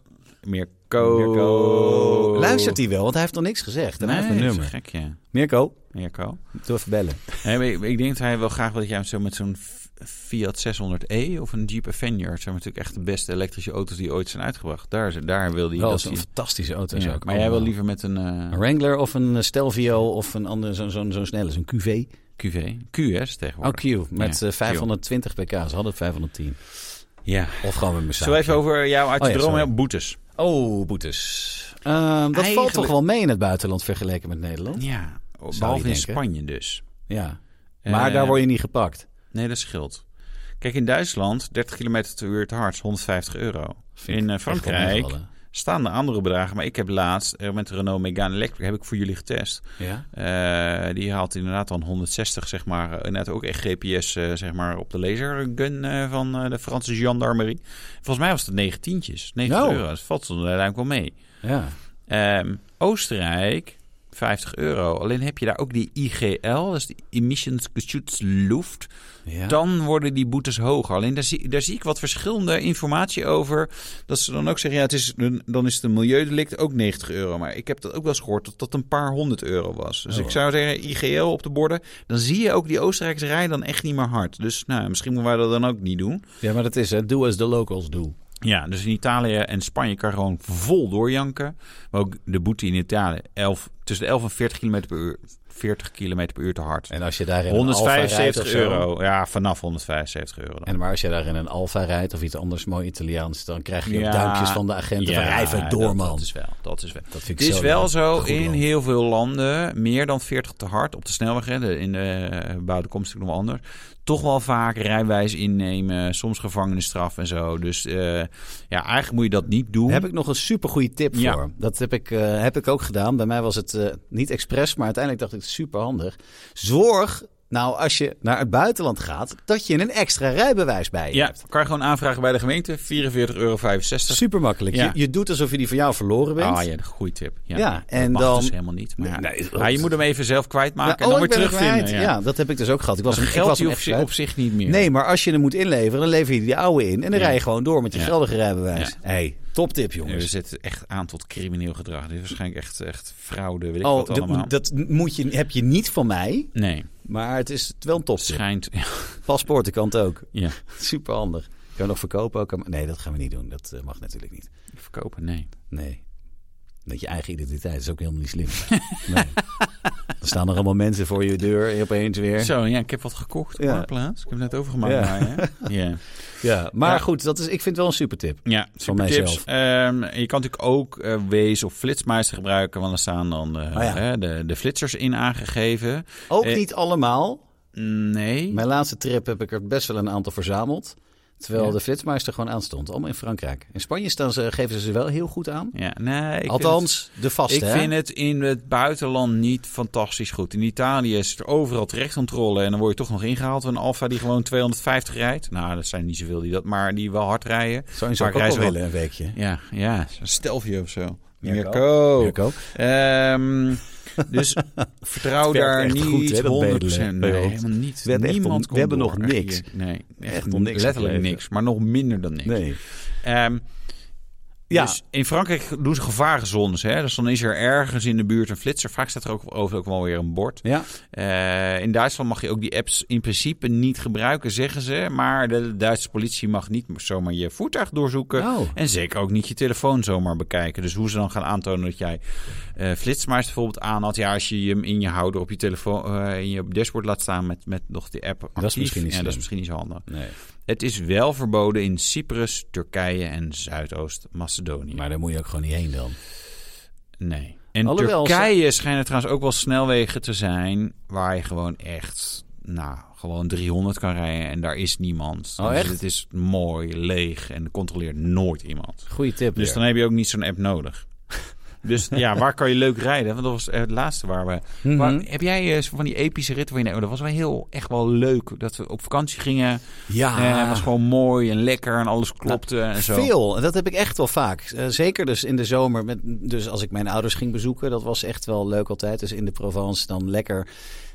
Speaker 2: Mirko.
Speaker 1: Mirko. Luistert hij wel, want hij heeft nog niks gezegd. Hij
Speaker 2: Nee,
Speaker 1: heeft een
Speaker 2: dat is
Speaker 1: nummer.
Speaker 2: gek, ja.
Speaker 1: Mirko,
Speaker 2: Mirko.
Speaker 1: doe even bellen.
Speaker 2: Nee, maar ik, ik denk dat hij wel graag wil dat jij hem zo met zo'n F- Fiat 600e of een Jeep Avenger... Het zijn natuurlijk echt de beste elektrische auto's die ooit zijn uitgebracht. Daar, daar wil hij...
Speaker 1: Wel,
Speaker 2: dat
Speaker 1: zo'n
Speaker 2: hij-
Speaker 1: fantastische auto
Speaker 2: Ja,
Speaker 1: is ook. Oh.
Speaker 2: maar jij wil
Speaker 1: Allemaal.
Speaker 2: liever met een eh,
Speaker 1: Een Wrangler of een eh, Stelvio of een ander, zo'n zo'n zo'n snelle, zo'n QV.
Speaker 2: QV. QS
Speaker 1: Oh,
Speaker 2: tegenwoordig.
Speaker 1: Q, met
Speaker 2: Ja,
Speaker 1: eh, 520 pk. Ze hadden 510.
Speaker 2: Ja.
Speaker 1: Of gewoon met mijn
Speaker 2: Zo even over jou uit
Speaker 1: Oh
Speaker 2: je
Speaker 1: ja,
Speaker 2: droom,
Speaker 1: sorry.
Speaker 2: hè, boetes.
Speaker 1: Oh, boetes. Ehm, dat valt
Speaker 2: Eigenlijk-
Speaker 1: toch wel mee in het buitenland vergeleken met Nederland?
Speaker 2: Ja,
Speaker 1: je
Speaker 2: behalve in
Speaker 1: denken.
Speaker 2: Spanje dus.
Speaker 1: Ja. Maar
Speaker 2: Eh,
Speaker 1: daar word je niet gepakt.
Speaker 2: Nee, dat scheelt. Kijk, in Duitsland 30 km per uur het hardst, 150 euro.
Speaker 1: Vind ik
Speaker 2: In eh,
Speaker 1: echt wel
Speaker 2: Frankrijk
Speaker 1: meevallen.
Speaker 2: staan de andere bedragen. Maar ik heb laatst eh, met de Renault Megane Electric, heb ik voor jullie getest.
Speaker 1: Ja.
Speaker 2: Eh, die haalt inderdaad dan 160, zeg maar. eh, Net ook echt GPS, eh, zeg maar, op de lasergun eh, van eh, de Franse gendarmerie. Volgens mij was het 19'tjes, 90
Speaker 1: Nou.
Speaker 2: euro. Dat valt er uiteindelijk wel mee.
Speaker 1: ja.
Speaker 2: Ehm, Oostenrijk, 50 euro. Alleen heb je daar ook die IGL, dat is die Emissionsgeschutzluft.
Speaker 1: ja.
Speaker 2: Dan worden die boetes hoger. Alleen daar zie, daar zie ik wat verschillende informatie over. Dat ze dan ook zeggen, ja, het is, een- dan is het een milieudelict ook 90 euro. Maar ik heb dat ook wel eens gehoord dat dat een paar honderd euro was. Dus
Speaker 1: Oh.
Speaker 2: ik zou zeggen, IGL op de borden. Dan zie je ook die Oostenrijkers rijden dan echt niet meer hard. Dus nou, misschien moeten wij dat dan ook niet doen.
Speaker 1: ja, maar dat is het. Do as the locals do.
Speaker 2: Ja, dus in Italië en Spanje kan gewoon vol doorjanken. Maar ook de boete in Italië, 11, tussen de 11 en 40 km per uur, 40 km per uur te hard.
Speaker 1: En als je daar in een Alfa rijdt of
Speaker 2: 175
Speaker 1: zo-
Speaker 2: euro. Ja, vanaf 175 euro. Dan.
Speaker 1: En maar als je daar in een Alfa rijdt of iets anders mooi Italiaans, dan krijg je
Speaker 2: Ja.
Speaker 1: ook duimpjes van de agenten. van, rij even door,
Speaker 2: dat-
Speaker 1: man.
Speaker 2: Dat, is wel, dat is wel.
Speaker 1: Dat vind
Speaker 2: Het
Speaker 1: ik
Speaker 2: is
Speaker 1: zo
Speaker 2: wel
Speaker 1: een
Speaker 2: zo
Speaker 1: goed
Speaker 2: in
Speaker 1: land.
Speaker 2: heel veel landen, meer dan 40 te hard op de snelweg. Hè, de- in de eh, bouwde komst natuurlijk nog wel anders. Toch wel vaak rijwijs innemen, soms gevangenisstraf en zo. Dus eh, ja, eigenlijk moet je dat niet doen.
Speaker 1: Daar heb ik nog een supergoeie tip
Speaker 2: Ja.
Speaker 1: voor. Dat heb ik, eh, heb ik ook gedaan. Bij mij was het eh, niet expres, maar uiteindelijk dacht ik super handig. Zorg nou als je naar het buitenland gaat, dat je een extra rijbewijs bij je
Speaker 2: Ja,
Speaker 1: hebt.
Speaker 2: kan je gewoon aanvragen bij de gemeente. 44,65 euro.
Speaker 1: Super makkelijk.
Speaker 2: Ja.
Speaker 1: Je, je doet alsof je die van jou verloren bent.
Speaker 2: Ah ja, een goede tip. Ja,
Speaker 1: Ja,
Speaker 2: dat
Speaker 1: en
Speaker 2: mag
Speaker 1: dan-
Speaker 2: dus helemaal niet. Maar ja.
Speaker 1: Nee, dat-
Speaker 2: Ja, je moet hem even zelf
Speaker 1: Nou,
Speaker 2: kwijtmaken
Speaker 1: oh,
Speaker 2: en dan
Speaker 1: ik
Speaker 2: weer
Speaker 1: ben er
Speaker 2: terugvinden.
Speaker 1: kwijt. Ja. dat heb ik dus ook gehad. Ik was
Speaker 2: Dan
Speaker 1: hem, ik was
Speaker 2: geldt
Speaker 1: hem
Speaker 2: hij op,
Speaker 1: echt
Speaker 2: zich-
Speaker 1: kwijt.
Speaker 2: op zich niet meer.
Speaker 1: Nee, maar als je hem moet inleveren, dan lever je die oude in. En dan
Speaker 2: Ja.
Speaker 1: rij je gewoon door met je
Speaker 2: Ja.
Speaker 1: geldige rijbewijs.
Speaker 2: Ja. dus
Speaker 1: hey, top tip
Speaker 2: Nee,
Speaker 1: jongens.
Speaker 2: we zitten echt aan tot crimineel gedrag. Dit is waarschijnlijk echt, echt fraude, weet ik
Speaker 1: Oh,
Speaker 2: wat allemaal.
Speaker 1: dat, dat moet je, heb je niet van mij,
Speaker 2: Nee,
Speaker 1: maar het is wel een
Speaker 2: het
Speaker 1: toptip.
Speaker 2: schijnt...
Speaker 1: Paspoortenkant ook.
Speaker 2: Ja,
Speaker 1: Super handig. Kunnen we nog verkopen ook? aan- Nee, dat gaan we niet doen. Dat eh, mag natuurlijk niet.
Speaker 2: verkopen, nee.
Speaker 1: Nee. Dat je eigen identiteit is ook helemaal niet slim. Nee. Er staan nog allemaal mensen voor je deur en opeens weer.
Speaker 2: Zo, ja, ik heb wat gekocht op
Speaker 1: Ja.
Speaker 2: Marktplaats. Ik heb het net overgemaakt.
Speaker 1: Ja.
Speaker 2: Maar, hè? ja.
Speaker 1: Ja, maar
Speaker 2: Ja.
Speaker 1: goed, dat is, ik vind het wel een super tip.
Speaker 2: Ja, super
Speaker 1: mijzelf.
Speaker 2: tips. Ehm, je kan natuurlijk ook eh Waze of Flitsmeister gebruiken, want er staan dan eh,
Speaker 1: Oh ja.
Speaker 2: hè, de, de flitsers in aangegeven.
Speaker 1: Ook
Speaker 2: Eh,
Speaker 1: niet allemaal.
Speaker 2: Nee.
Speaker 1: Mijn laatste trip heb ik er best wel een aantal verzameld. Terwijl
Speaker 2: Ja.
Speaker 1: de flitsmeister gewoon aanstond. Allemaal in Frankrijk. In Spanje staan ze, geven ze ze wel heel goed aan.
Speaker 2: Ja, nee. ik vind
Speaker 1: Althans, de
Speaker 2: het-
Speaker 1: vaste.
Speaker 2: ik
Speaker 1: hè?
Speaker 2: vind het in het buitenland niet fantastisch goed. In Italië is er overal terechtcontrole en dan word je toch nog ingehaald. Een Alfa die gewoon 250 rijdt. Nou, dat zijn niet zoveel die dat, maar die wel hard rijden.
Speaker 1: Zou je zo
Speaker 2: Maar
Speaker 1: ook
Speaker 2: ik
Speaker 1: wel
Speaker 2: reis wel-
Speaker 1: willen, een weekje?
Speaker 2: Ja, ja. zo'n Stelvio of zo.
Speaker 1: Mirko.
Speaker 2: Mirko.
Speaker 1: Mirko?
Speaker 2: Ehm, dus vertrouw
Speaker 1: werkt
Speaker 2: daar
Speaker 1: echt
Speaker 2: niet
Speaker 1: goed, hè, dat
Speaker 2: 100%.
Speaker 1: bedelen.
Speaker 2: Nee, helemaal niet.
Speaker 1: We hebben echt
Speaker 2: Niemand
Speaker 1: on- we
Speaker 2: komt
Speaker 1: hebben
Speaker 2: door,
Speaker 1: nog
Speaker 2: echt
Speaker 1: niks.
Speaker 2: hier. Nee, echt,
Speaker 1: Echt nog niks
Speaker 2: letterlijk
Speaker 1: opgeleverd.
Speaker 2: niks. Maar nog minder dan niks.
Speaker 1: Nee.
Speaker 2: Ehm,
Speaker 1: Ja.
Speaker 2: Dus in Frankrijk doen ze gevarenzones. Hè? Dus dan is er ergens in de buurt een flitser. Vaak staat er ook over ook wel weer een bord.
Speaker 1: Ja.
Speaker 2: Eh, in Duitsland mag je ook die apps in principe niet gebruiken, zeggen ze. Maar de Duitse politie mag niet zomaar je voertuig doorzoeken.
Speaker 1: Oh.
Speaker 2: En zeker ook niet je telefoon zomaar bekijken. Dus hoe ze dan gaan aantonen dat jij eh flitsmeister bijvoorbeeld aan had. Ja, als je hem in je houder op je telefoon, eh, in je dashboard laat staan met, met nog die app actief.
Speaker 1: misschien niet
Speaker 2: ja, dat
Speaker 1: slim.
Speaker 2: is misschien niet zo handig.
Speaker 1: Nee.
Speaker 2: Het is wel verboden in Cyprus, Turkije en Zuidoost-Macedonië.
Speaker 1: Maar daar moet je ook gewoon niet heen dan.
Speaker 2: Nee. En
Speaker 1: Alhoewel,
Speaker 2: Turkije schijnen trouwens ook wel snelwegen te zijn waar je gewoon echt, nou, gewoon 300 kan rijden en daar is niemand.
Speaker 1: Oh,
Speaker 2: Dus
Speaker 1: echt?
Speaker 2: het is mooi, leeg en er controleert nooit iemand.
Speaker 1: Goeie tip.
Speaker 2: Dus
Speaker 1: weer.
Speaker 2: dan heb je ook niet zo'n app nodig. Dus ja, waar kan je leuk rijden? Want dat was het laatste waar we...
Speaker 1: Mhm.
Speaker 2: waar- heb jij eh, zo van die epische ritten waar je... Nou, dat was wel heel, echt wel leuk. Dat we op vakantie gingen.
Speaker 1: Ja,
Speaker 2: en het was gewoon mooi en lekker en alles klopte en zo.
Speaker 1: Veel, en dat heb ik echt wel vaak. Eh, zeker dus in de zomer, met, dus als ik mijn ouders ging bezoeken, dat was echt wel leuk altijd. Dus in de Provence dan lekker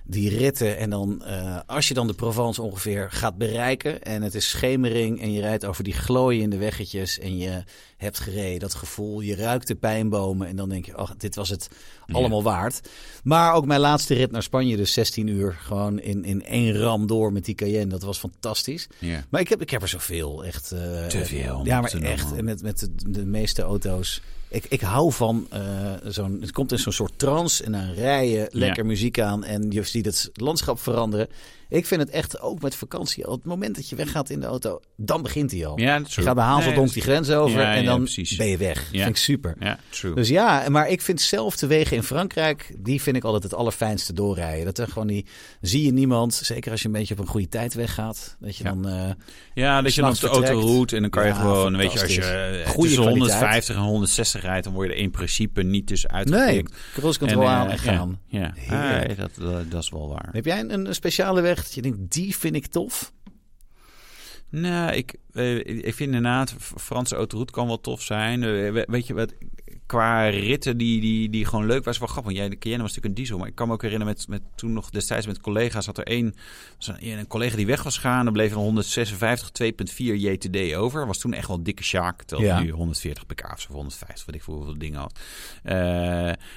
Speaker 1: die ritten. En dan, eh, als je dan de Provence ongeveer gaat bereiken en het is schemering en je rijdt over die glooiende weggetjes en je hebt gereden, dat gevoel, je ruikt de pijnbomen en dan denk je, ach, dit was het allemaal waard. Maar ook mijn laatste rit naar Spanje, dus 16 uur, gewoon in, in één ram door met die Cayenne, dat was fantastisch.
Speaker 2: Ja.
Speaker 1: Maar ik heb, ik heb er zoveel, echt. eh,
Speaker 2: Te veel, om
Speaker 1: Ja,
Speaker 2: te
Speaker 1: maar
Speaker 2: noemen.
Speaker 1: echt. En met, met de, de meeste auto's. Ik, ik hou van eh, zo'n. Het komt in zo'n soort trance en dan rijden, lekker muziek aan en je ziet het landschap veranderen. Ik vind het echt ook met vakantie. Al het moment dat je weggaat in de auto, dan begint hij al.
Speaker 2: Ja, dat is
Speaker 1: je gaat bij Hazeldonk die grens over
Speaker 2: Ja,
Speaker 1: en
Speaker 2: ja,
Speaker 1: dan
Speaker 2: precies.
Speaker 1: ben je weg.
Speaker 2: Ja.
Speaker 1: Vind ik super.
Speaker 2: Ja, true.
Speaker 1: Dus ja, maar ik vind zelf de wegen in Frankrijk, die vind ik altijd het allerfijnste doorrijden. Dat er gewoon die, zie je niemand, zeker als je een beetje op een goede tijd weggaat. Dat je
Speaker 2: Ja.
Speaker 1: dan, eh,
Speaker 2: ja, dat je dan op de
Speaker 1: s'nachts
Speaker 2: auto
Speaker 1: vertrekt.
Speaker 2: roet en dan kan je
Speaker 1: Ja,
Speaker 2: gewoon, weet je, als je
Speaker 1: fantastisch.
Speaker 2: eh,
Speaker 1: Goede
Speaker 2: tussen
Speaker 1: kwaliteit.
Speaker 2: 150 en 160 rijdt, dan word je er in principe niet tussen uitgekomen.
Speaker 1: nee, cruise control aan en gaan.
Speaker 2: eh, Ja,
Speaker 1: Heerlijk.
Speaker 2: Ah, dat, dat, dat is wel waar.
Speaker 1: Heb jij een, een speciale weg dat je denkt, die vind ik tof?
Speaker 2: Nou, ik, eh, ik vind inderdaad, F- Franse autoroute kan wel tof zijn. Eh, we- Weet je wat, qua ritten die, die, die gewoon leuk was, wel grappig. Want jij, de Cayenne was natuurlijk een diesel, maar ik kan me ook herinneren met, met toen nog destijds met collega's had er één, was een, een collega die weg was gegaan. Dan bleef er 156 2.4 JTD over. Was toen echt wel een dikke sjaak, terwijl
Speaker 1: Ja.
Speaker 2: nu 140 pk of zo, 150, weet ik veel hoeveel dingen had. Eh,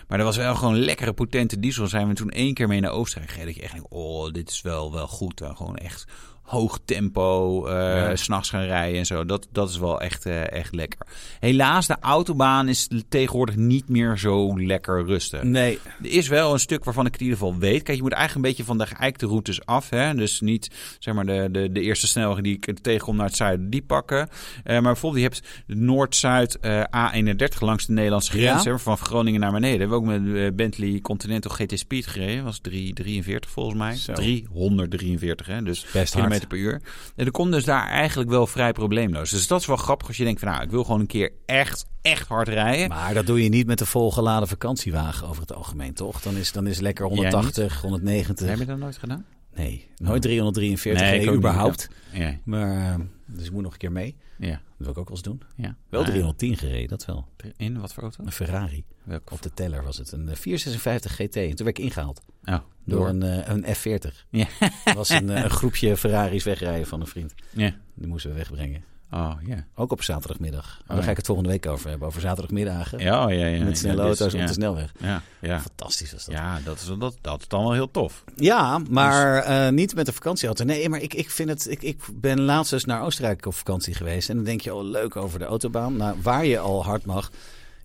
Speaker 2: maar dat was wel gewoon lekkere, potente diesel. Daar zijn we toen één keer mee naar Oostenrijk gereden. Dat je echt denkt, oh, dit is wel, wel goed. Eh, gewoon echt hoog tempo, eh,
Speaker 1: Ja.
Speaker 2: s'nachts gaan rijden en zo. Dat, dat is wel echt, eh, echt lekker. Helaas, de autobaan is tegenwoordig niet meer zo lekker rustig.
Speaker 1: Nee.
Speaker 2: Er is wel een stuk waarvan ik het in ieder geval weet. Kijk, je moet eigenlijk een beetje van de geëikte routes af. Hè? Dus niet zeg maar, de, de, de eerste snelweg die ik tegenkom naar het zuiden, die pakken. Eh, maar bijvoorbeeld, je hebt Noord-Zuid eh, A31 langs de Nederlandse
Speaker 1: Ja.
Speaker 2: grens. Hè? Van Groningen naar beneden. Hebben we ook met eh, Bentley Continental GT Speed gereden. was 343 volgens mij.
Speaker 1: Zo.
Speaker 2: 343, hè? dus
Speaker 1: Best hard.
Speaker 2: kilometer per uur. En dat komt dus daar eigenlijk wel vrij probleemloos. Dus dat is wel grappig als je denkt van... nou, ik wil gewoon een keer echt, echt hard rijden.
Speaker 1: Maar dat doe je niet met de volgeladen vakantiewagen over het algemeen, toch? Dan is, dan is lekker
Speaker 2: niet?
Speaker 1: 180, 190.
Speaker 2: Heb je dat nooit gedaan?
Speaker 1: Nee, nooit 343
Speaker 2: Nee, ik
Speaker 1: nee,
Speaker 2: ook niet,
Speaker 1: überhaupt.
Speaker 2: Ja,
Speaker 1: Maar, eh, dus ik moet nog een keer mee.
Speaker 2: ja.
Speaker 1: Dat wil ik ook wel eens doen.
Speaker 2: ja.
Speaker 1: Wel
Speaker 2: Ah,
Speaker 1: 310 gereden, dat wel.
Speaker 2: In wat voor auto?
Speaker 1: Een Ferrari.
Speaker 2: Welke?
Speaker 1: Op de teller was het. Een eh, 456 GT. En toen werd ik ingehaald
Speaker 2: Oh,
Speaker 1: door, een, eh, een F40.
Speaker 2: Ja.
Speaker 1: Er was een, eh, een groepje Ferraris wegrijden van een vriend.
Speaker 2: Ja.
Speaker 1: Die moesten we wegbrengen.
Speaker 2: Oh, ja.
Speaker 1: Ook op zaterdagmiddag. Maar
Speaker 2: Oh, ja.
Speaker 1: Daar ga ik het volgende week over hebben. Over zaterdagmiddagen.
Speaker 2: Ja, oh, ja, ja.
Speaker 1: Met snelle
Speaker 2: ja, dit is-
Speaker 1: auto's op de
Speaker 2: ja.
Speaker 1: snelweg.
Speaker 2: Ja, ja.
Speaker 1: Fantastisch was dat. Ja,
Speaker 2: Ja, dat is, dat, dat is dan wel heel tof. Dus-
Speaker 1: maar eh, niet met de vakantieauto. Nee, maar ik, ik vind het. Ik, ik ben laatst eens naar Oostenrijk op vakantie geweest. En dan denk je, oh, leuk over de autobaan. Nou, waar je al hard mag.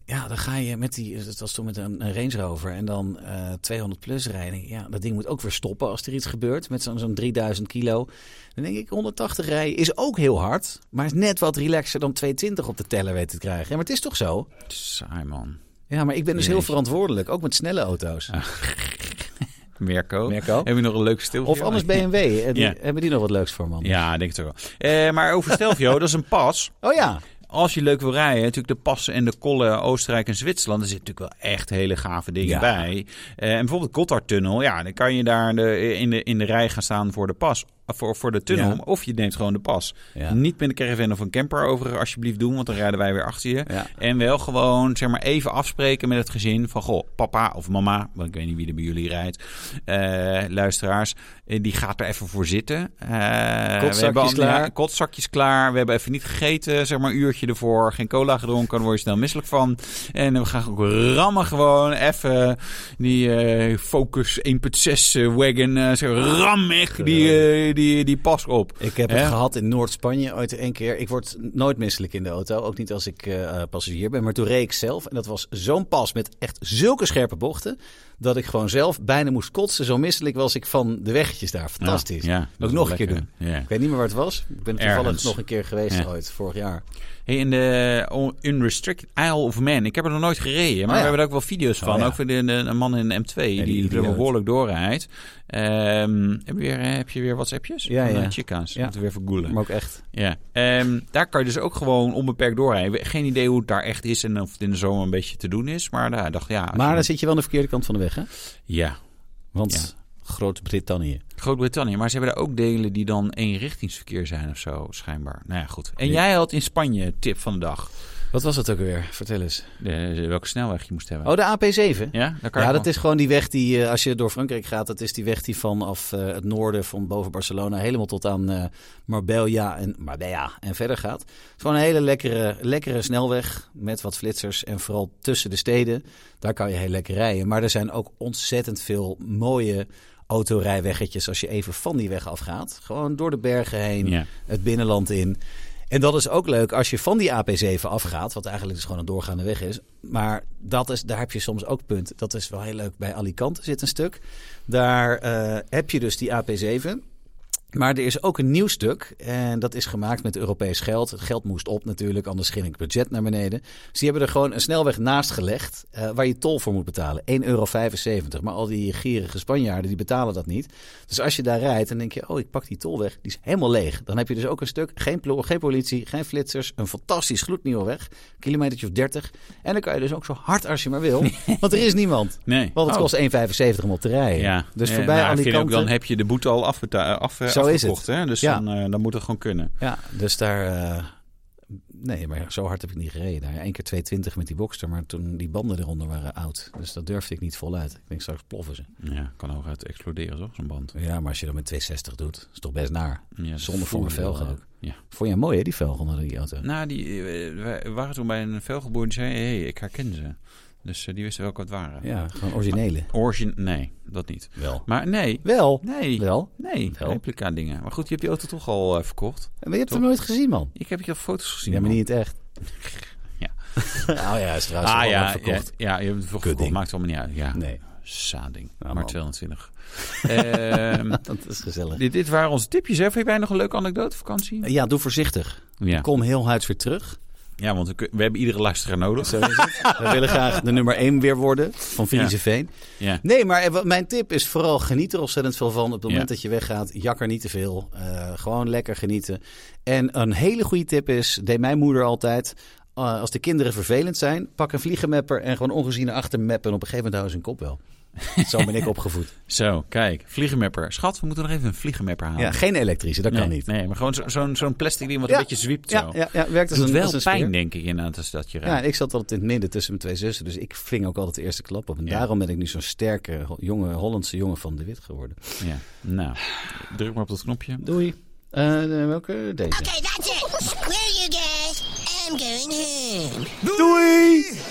Speaker 1: Ja, dan ga je met die. Het was toen met een, een Range Rover. En dan eh, 200 plus rijden. Ja, dat ding moet ook weer stoppen als er iets gebeurt. Met zo'n zo'n 3000 kilo. Dan denk ik, 180 rijden is ook heel hard. Maar is net wat relaxer dan 220 op de teller weten te krijgen. Ja, maar het is toch zo?
Speaker 2: Saai, man.
Speaker 1: Ja, maar ik ben dus heel
Speaker 2: Jeetje.
Speaker 1: verantwoordelijk, ook met snelle auto's.
Speaker 2: Merco.
Speaker 1: Merco.
Speaker 2: Heb je nog een leuk stil?
Speaker 1: Of anders BMW, eh, die-
Speaker 2: Ja.
Speaker 1: hebben die nog wat leuks voor man?
Speaker 2: Ja, ik denk het ook wel. Eh, maar over Stelvio, dat is een pas.
Speaker 1: Oh ja,
Speaker 2: Als je leuk wil rijden, natuurlijk de passen en de kollen Oostenrijk en Zwitserland. Er zitten natuurlijk wel echt hele gave dingen
Speaker 1: Ja.
Speaker 2: bij. Eh, en bijvoorbeeld Gotthardtunnel. Ja, dan kan je daar de, in, de, in de rij gaan staan voor de pas. Voor, voor de tunnel.
Speaker 1: Ja.
Speaker 2: Of je neemt gewoon de pas.
Speaker 1: Ja.
Speaker 2: Niet met een caravan of een camper overigens alsjeblieft doen. Want dan rijden wij weer achter je.
Speaker 1: Ja.
Speaker 2: En wel gewoon zeg maar even afspreken met het gezin. Van goh, papa of mama. Want ik weet niet wie er bij jullie rijdt. eh, luisteraars. eh, Die gaat er even voor zitten. Eh, we hebben al- ja,
Speaker 1: klaar.
Speaker 2: kotzakjes klaar. We hebben even niet gegeten, zeg maar een uurtje ervoor. Geen cola gedronken, daar word je snel misselijk van. En we gaan ook rammen gewoon even die eh, Focus 1.6 wagon. eh, zo ram ik die, eh, die, die pas op.
Speaker 1: ik heb
Speaker 2: Hè?
Speaker 1: het gehad in Noord-Spanje ooit één keer. Ik word nooit misselijk in de auto, ook niet als ik eh, eh, passagier ben. Maar toen reed ik zelf en dat was zo'n pas met echt zulke scherpe bochten... dat ik gewoon zelf bijna moest kotsen. Zo misselijk was ik van de weggetjes daar. Fantastisch.
Speaker 2: Ja, ja, dat is
Speaker 1: ook
Speaker 2: wel
Speaker 1: nog een keer
Speaker 2: lekker.
Speaker 1: doen.
Speaker 2: Ja.
Speaker 1: Ik weet niet meer waar het was. Ik ben toevallig
Speaker 2: Ergens.
Speaker 1: nog een keer geweest
Speaker 2: Ja.
Speaker 1: ooit, vorig jaar.
Speaker 2: Hey, in de on- Unrestricted Isle of Man. Ik heb er nog nooit
Speaker 1: Oh
Speaker 2: gereden, maar
Speaker 1: ja.
Speaker 2: we hebben er ook wel video's van.
Speaker 1: ja.
Speaker 2: Ook van de, de- een man in een M2 die,
Speaker 1: die
Speaker 2: er
Speaker 1: idioot.
Speaker 2: behoorlijk doorrijdt. Ehm, heb, je weer, eh, heb je weer WhatsAppjes?
Speaker 1: Ja,
Speaker 2: Van,
Speaker 1: ja.
Speaker 2: eh, Chica's.
Speaker 1: Ja.
Speaker 2: Moeten we weer even googlen.
Speaker 1: Maar ook echt.
Speaker 2: Ja, Ehm, daar kan je dus ook gewoon onbeperkt doorrijden. Geen idee hoe het daar echt is en of het in de zomer een beetje te doen is. Maar daar dacht ja. als
Speaker 1: Maar
Speaker 2: je-
Speaker 1: dan zit je wel aan de verkeerde kant van de weg, hè?
Speaker 2: Ja,
Speaker 1: Want Groot-Brittannië.
Speaker 2: Groot-Brittannië. Maar ze hebben daar ook delen die dan eenrichtingsverkeer zijn of zo, schijnbaar. Nou ja, goed. En jij had in Spanje tip van de dag.
Speaker 1: Wat was dat ook weer? Vertel eens.
Speaker 2: De- welke snelweg je moest hebben.
Speaker 1: Oh, de AP7?
Speaker 2: ja, daar kan
Speaker 1: Ja,
Speaker 2: je
Speaker 1: dat
Speaker 2: wel.
Speaker 1: is gewoon die weg die, eh, als je door Frankrijk gaat, dat is die weg die vanaf eh, het noorden, van boven Barcelona, helemaal tot aan eh, Marbella, en, Marbella en verder gaat. Het is gewoon een hele lekkere, lekkere snelweg met wat flitsers en vooral tussen de steden. Daar kan je heel lekker rijden. Maar er zijn ook ontzettend veel mooie autorijweggetjes als je even van die weg afgaat. Gewoon door de bergen heen,
Speaker 2: Ja.
Speaker 1: het binnenland in. En dat is ook leuk als je van die AP7 afgaat, wat eigenlijk dus gewoon een doorgaande weg is. Maar dat is, daar heb je soms ook punt. Dat is wel heel leuk. Bij Alicante zit een stuk. Daar eh, heb je dus die AP7. Maar er is ook een nieuw stuk. En dat is gemaakt met Europees geld. Het geld moest op natuurlijk, anders ging het budget naar beneden. Dus die hebben er gewoon een snelweg naast gelegd. eh, waar je tol voor moet betalen. 1,75 euro. Maar al die gierige Spanjaarden die betalen dat niet. Dus als je daar rijdt, dan denk je: oh, ik pak die tolweg. Die is helemaal leeg. Dan heb je dus ook een stuk. Geen, plo- geen politie, geen flitsers. Een fantastisch gloednieuwe weg. Kilometertje of 30. En dan kan je dus ook zo hard als je maar wil. want er is niemand.
Speaker 2: Nee.
Speaker 1: Want het
Speaker 2: Oh.
Speaker 1: kost 1,75 om op te rijden.
Speaker 2: Ja.
Speaker 1: Dus
Speaker 2: Ja,
Speaker 1: voorbij
Speaker 2: nou,
Speaker 1: al
Speaker 2: ik
Speaker 1: die
Speaker 2: vind ook,
Speaker 1: kanten.
Speaker 2: Dan heb je de boete al afbeta- af, eh,
Speaker 1: Zo is
Speaker 2: afgekocht. Hè? Dus
Speaker 1: Ja.
Speaker 2: dan, eh, dan moet het gewoon kunnen.
Speaker 1: Ja, dus daar. eh, nee, maar zo hard heb ik niet gereden. Eén keer 220 met die Boxster, maar toen die banden eronder waren oud. Dus dat durfde ik niet voluit. Ik denk straks ploffen ze.
Speaker 2: Ja, kan ook uit exploderen, toch? Zo'n band.
Speaker 1: Ja, maar als je dat met 260 doet, is toch best naar.
Speaker 2: Ja, dat
Speaker 1: Zonde voor
Speaker 2: voel
Speaker 1: een
Speaker 2: je wel,
Speaker 1: velg
Speaker 2: eh,
Speaker 1: ook.
Speaker 2: Ja.
Speaker 1: Vond je mooi, hè, die velg onder die auto?
Speaker 2: Nou, die, eh, we waren toen bij een velgeboer die zei... hey, ik herken ze. Dus eh, die wisten welke het waren.
Speaker 1: Ja, gewoon originele.
Speaker 2: Origin... Nee, dat niet.
Speaker 1: Wel.
Speaker 2: Maar nee.
Speaker 1: Wel.
Speaker 2: Nee.
Speaker 1: Wel.
Speaker 2: Nee,
Speaker 1: Wel.
Speaker 2: replica dingen. Maar goed, je hebt die auto toch al eh, verkocht.
Speaker 1: Maar je hebt hem nooit gezien, man.
Speaker 2: Ik heb je al foto's gezien.
Speaker 1: Ja, maar
Speaker 2: man.
Speaker 1: niet echt.
Speaker 2: Ja.
Speaker 1: Nou ja, is trouwens
Speaker 2: Ah
Speaker 1: wel
Speaker 2: ja, ja,
Speaker 1: verkocht.
Speaker 2: ja, je hebt het verkocht.
Speaker 1: Kudding.
Speaker 2: Maakt allemaal niet uit. Ja,
Speaker 1: Nee,
Speaker 2: saading.
Speaker 1: Ja,
Speaker 2: maar
Speaker 1: man.
Speaker 2: 220. Ehm,
Speaker 1: dat is gezellig.
Speaker 2: dit, dit waren onze tipjes. Hè? Vind jij nog een leuke anekdote vakantie?
Speaker 1: Ja, doe voorzichtig.
Speaker 2: Ja.
Speaker 1: Kom heel huids weer terug.
Speaker 2: ja, want we, kun- we hebben iedere luisteraar nodig.
Speaker 1: Zo is het. We willen graag de nummer 1 weer worden van Friese Veen.
Speaker 2: Ja.
Speaker 1: Nee, maar eh, wat mijn tip is vooral geniet er ontzettend veel van. Op het moment
Speaker 2: Ja.
Speaker 1: dat je weggaat, jak er niet te veel. Eh, gewoon lekker genieten. En een hele goede tip is, deed mijn moeder altijd... eh, als de kinderen vervelend zijn, pak een vliegenmapper en gewoon ongezien achtermappen. En op een gegeven moment houden ze hun kop wel. Zo ben ik opgevoed.
Speaker 2: Zo, kijk. Vliegenmapper. Schat, we moeten nog even een vliegenmapper halen.
Speaker 1: Ja, geen elektrische, dat
Speaker 2: Oh. nee,
Speaker 1: kan niet.
Speaker 2: Nee, maar gewoon zo- zo'n zo'n plastic ding wat
Speaker 1: Ja.
Speaker 2: een beetje zwiept zo.
Speaker 1: Ja, ja, ja, werkt als
Speaker 2: Het doet
Speaker 1: een,
Speaker 2: wel
Speaker 1: als een
Speaker 2: pijn,
Speaker 1: speer.
Speaker 2: denk ik, inderdaad, als dat je
Speaker 1: Ja,
Speaker 2: raakt.
Speaker 1: en ik zat altijd in het midden tussen mijn twee zussen. Dus ik ving ook altijd de eerste klap op. En
Speaker 2: Ja.
Speaker 1: daarom ben ik nu zo'n sterke, ho- jonge, Hollandse jongen van de wit geworden.
Speaker 2: Ja. Nou, druk maar op dat knopje.
Speaker 1: Doei. Eh, welke? Deze.
Speaker 4: Okay, that's it. Well, you guys, I'm going home.
Speaker 1: Doei!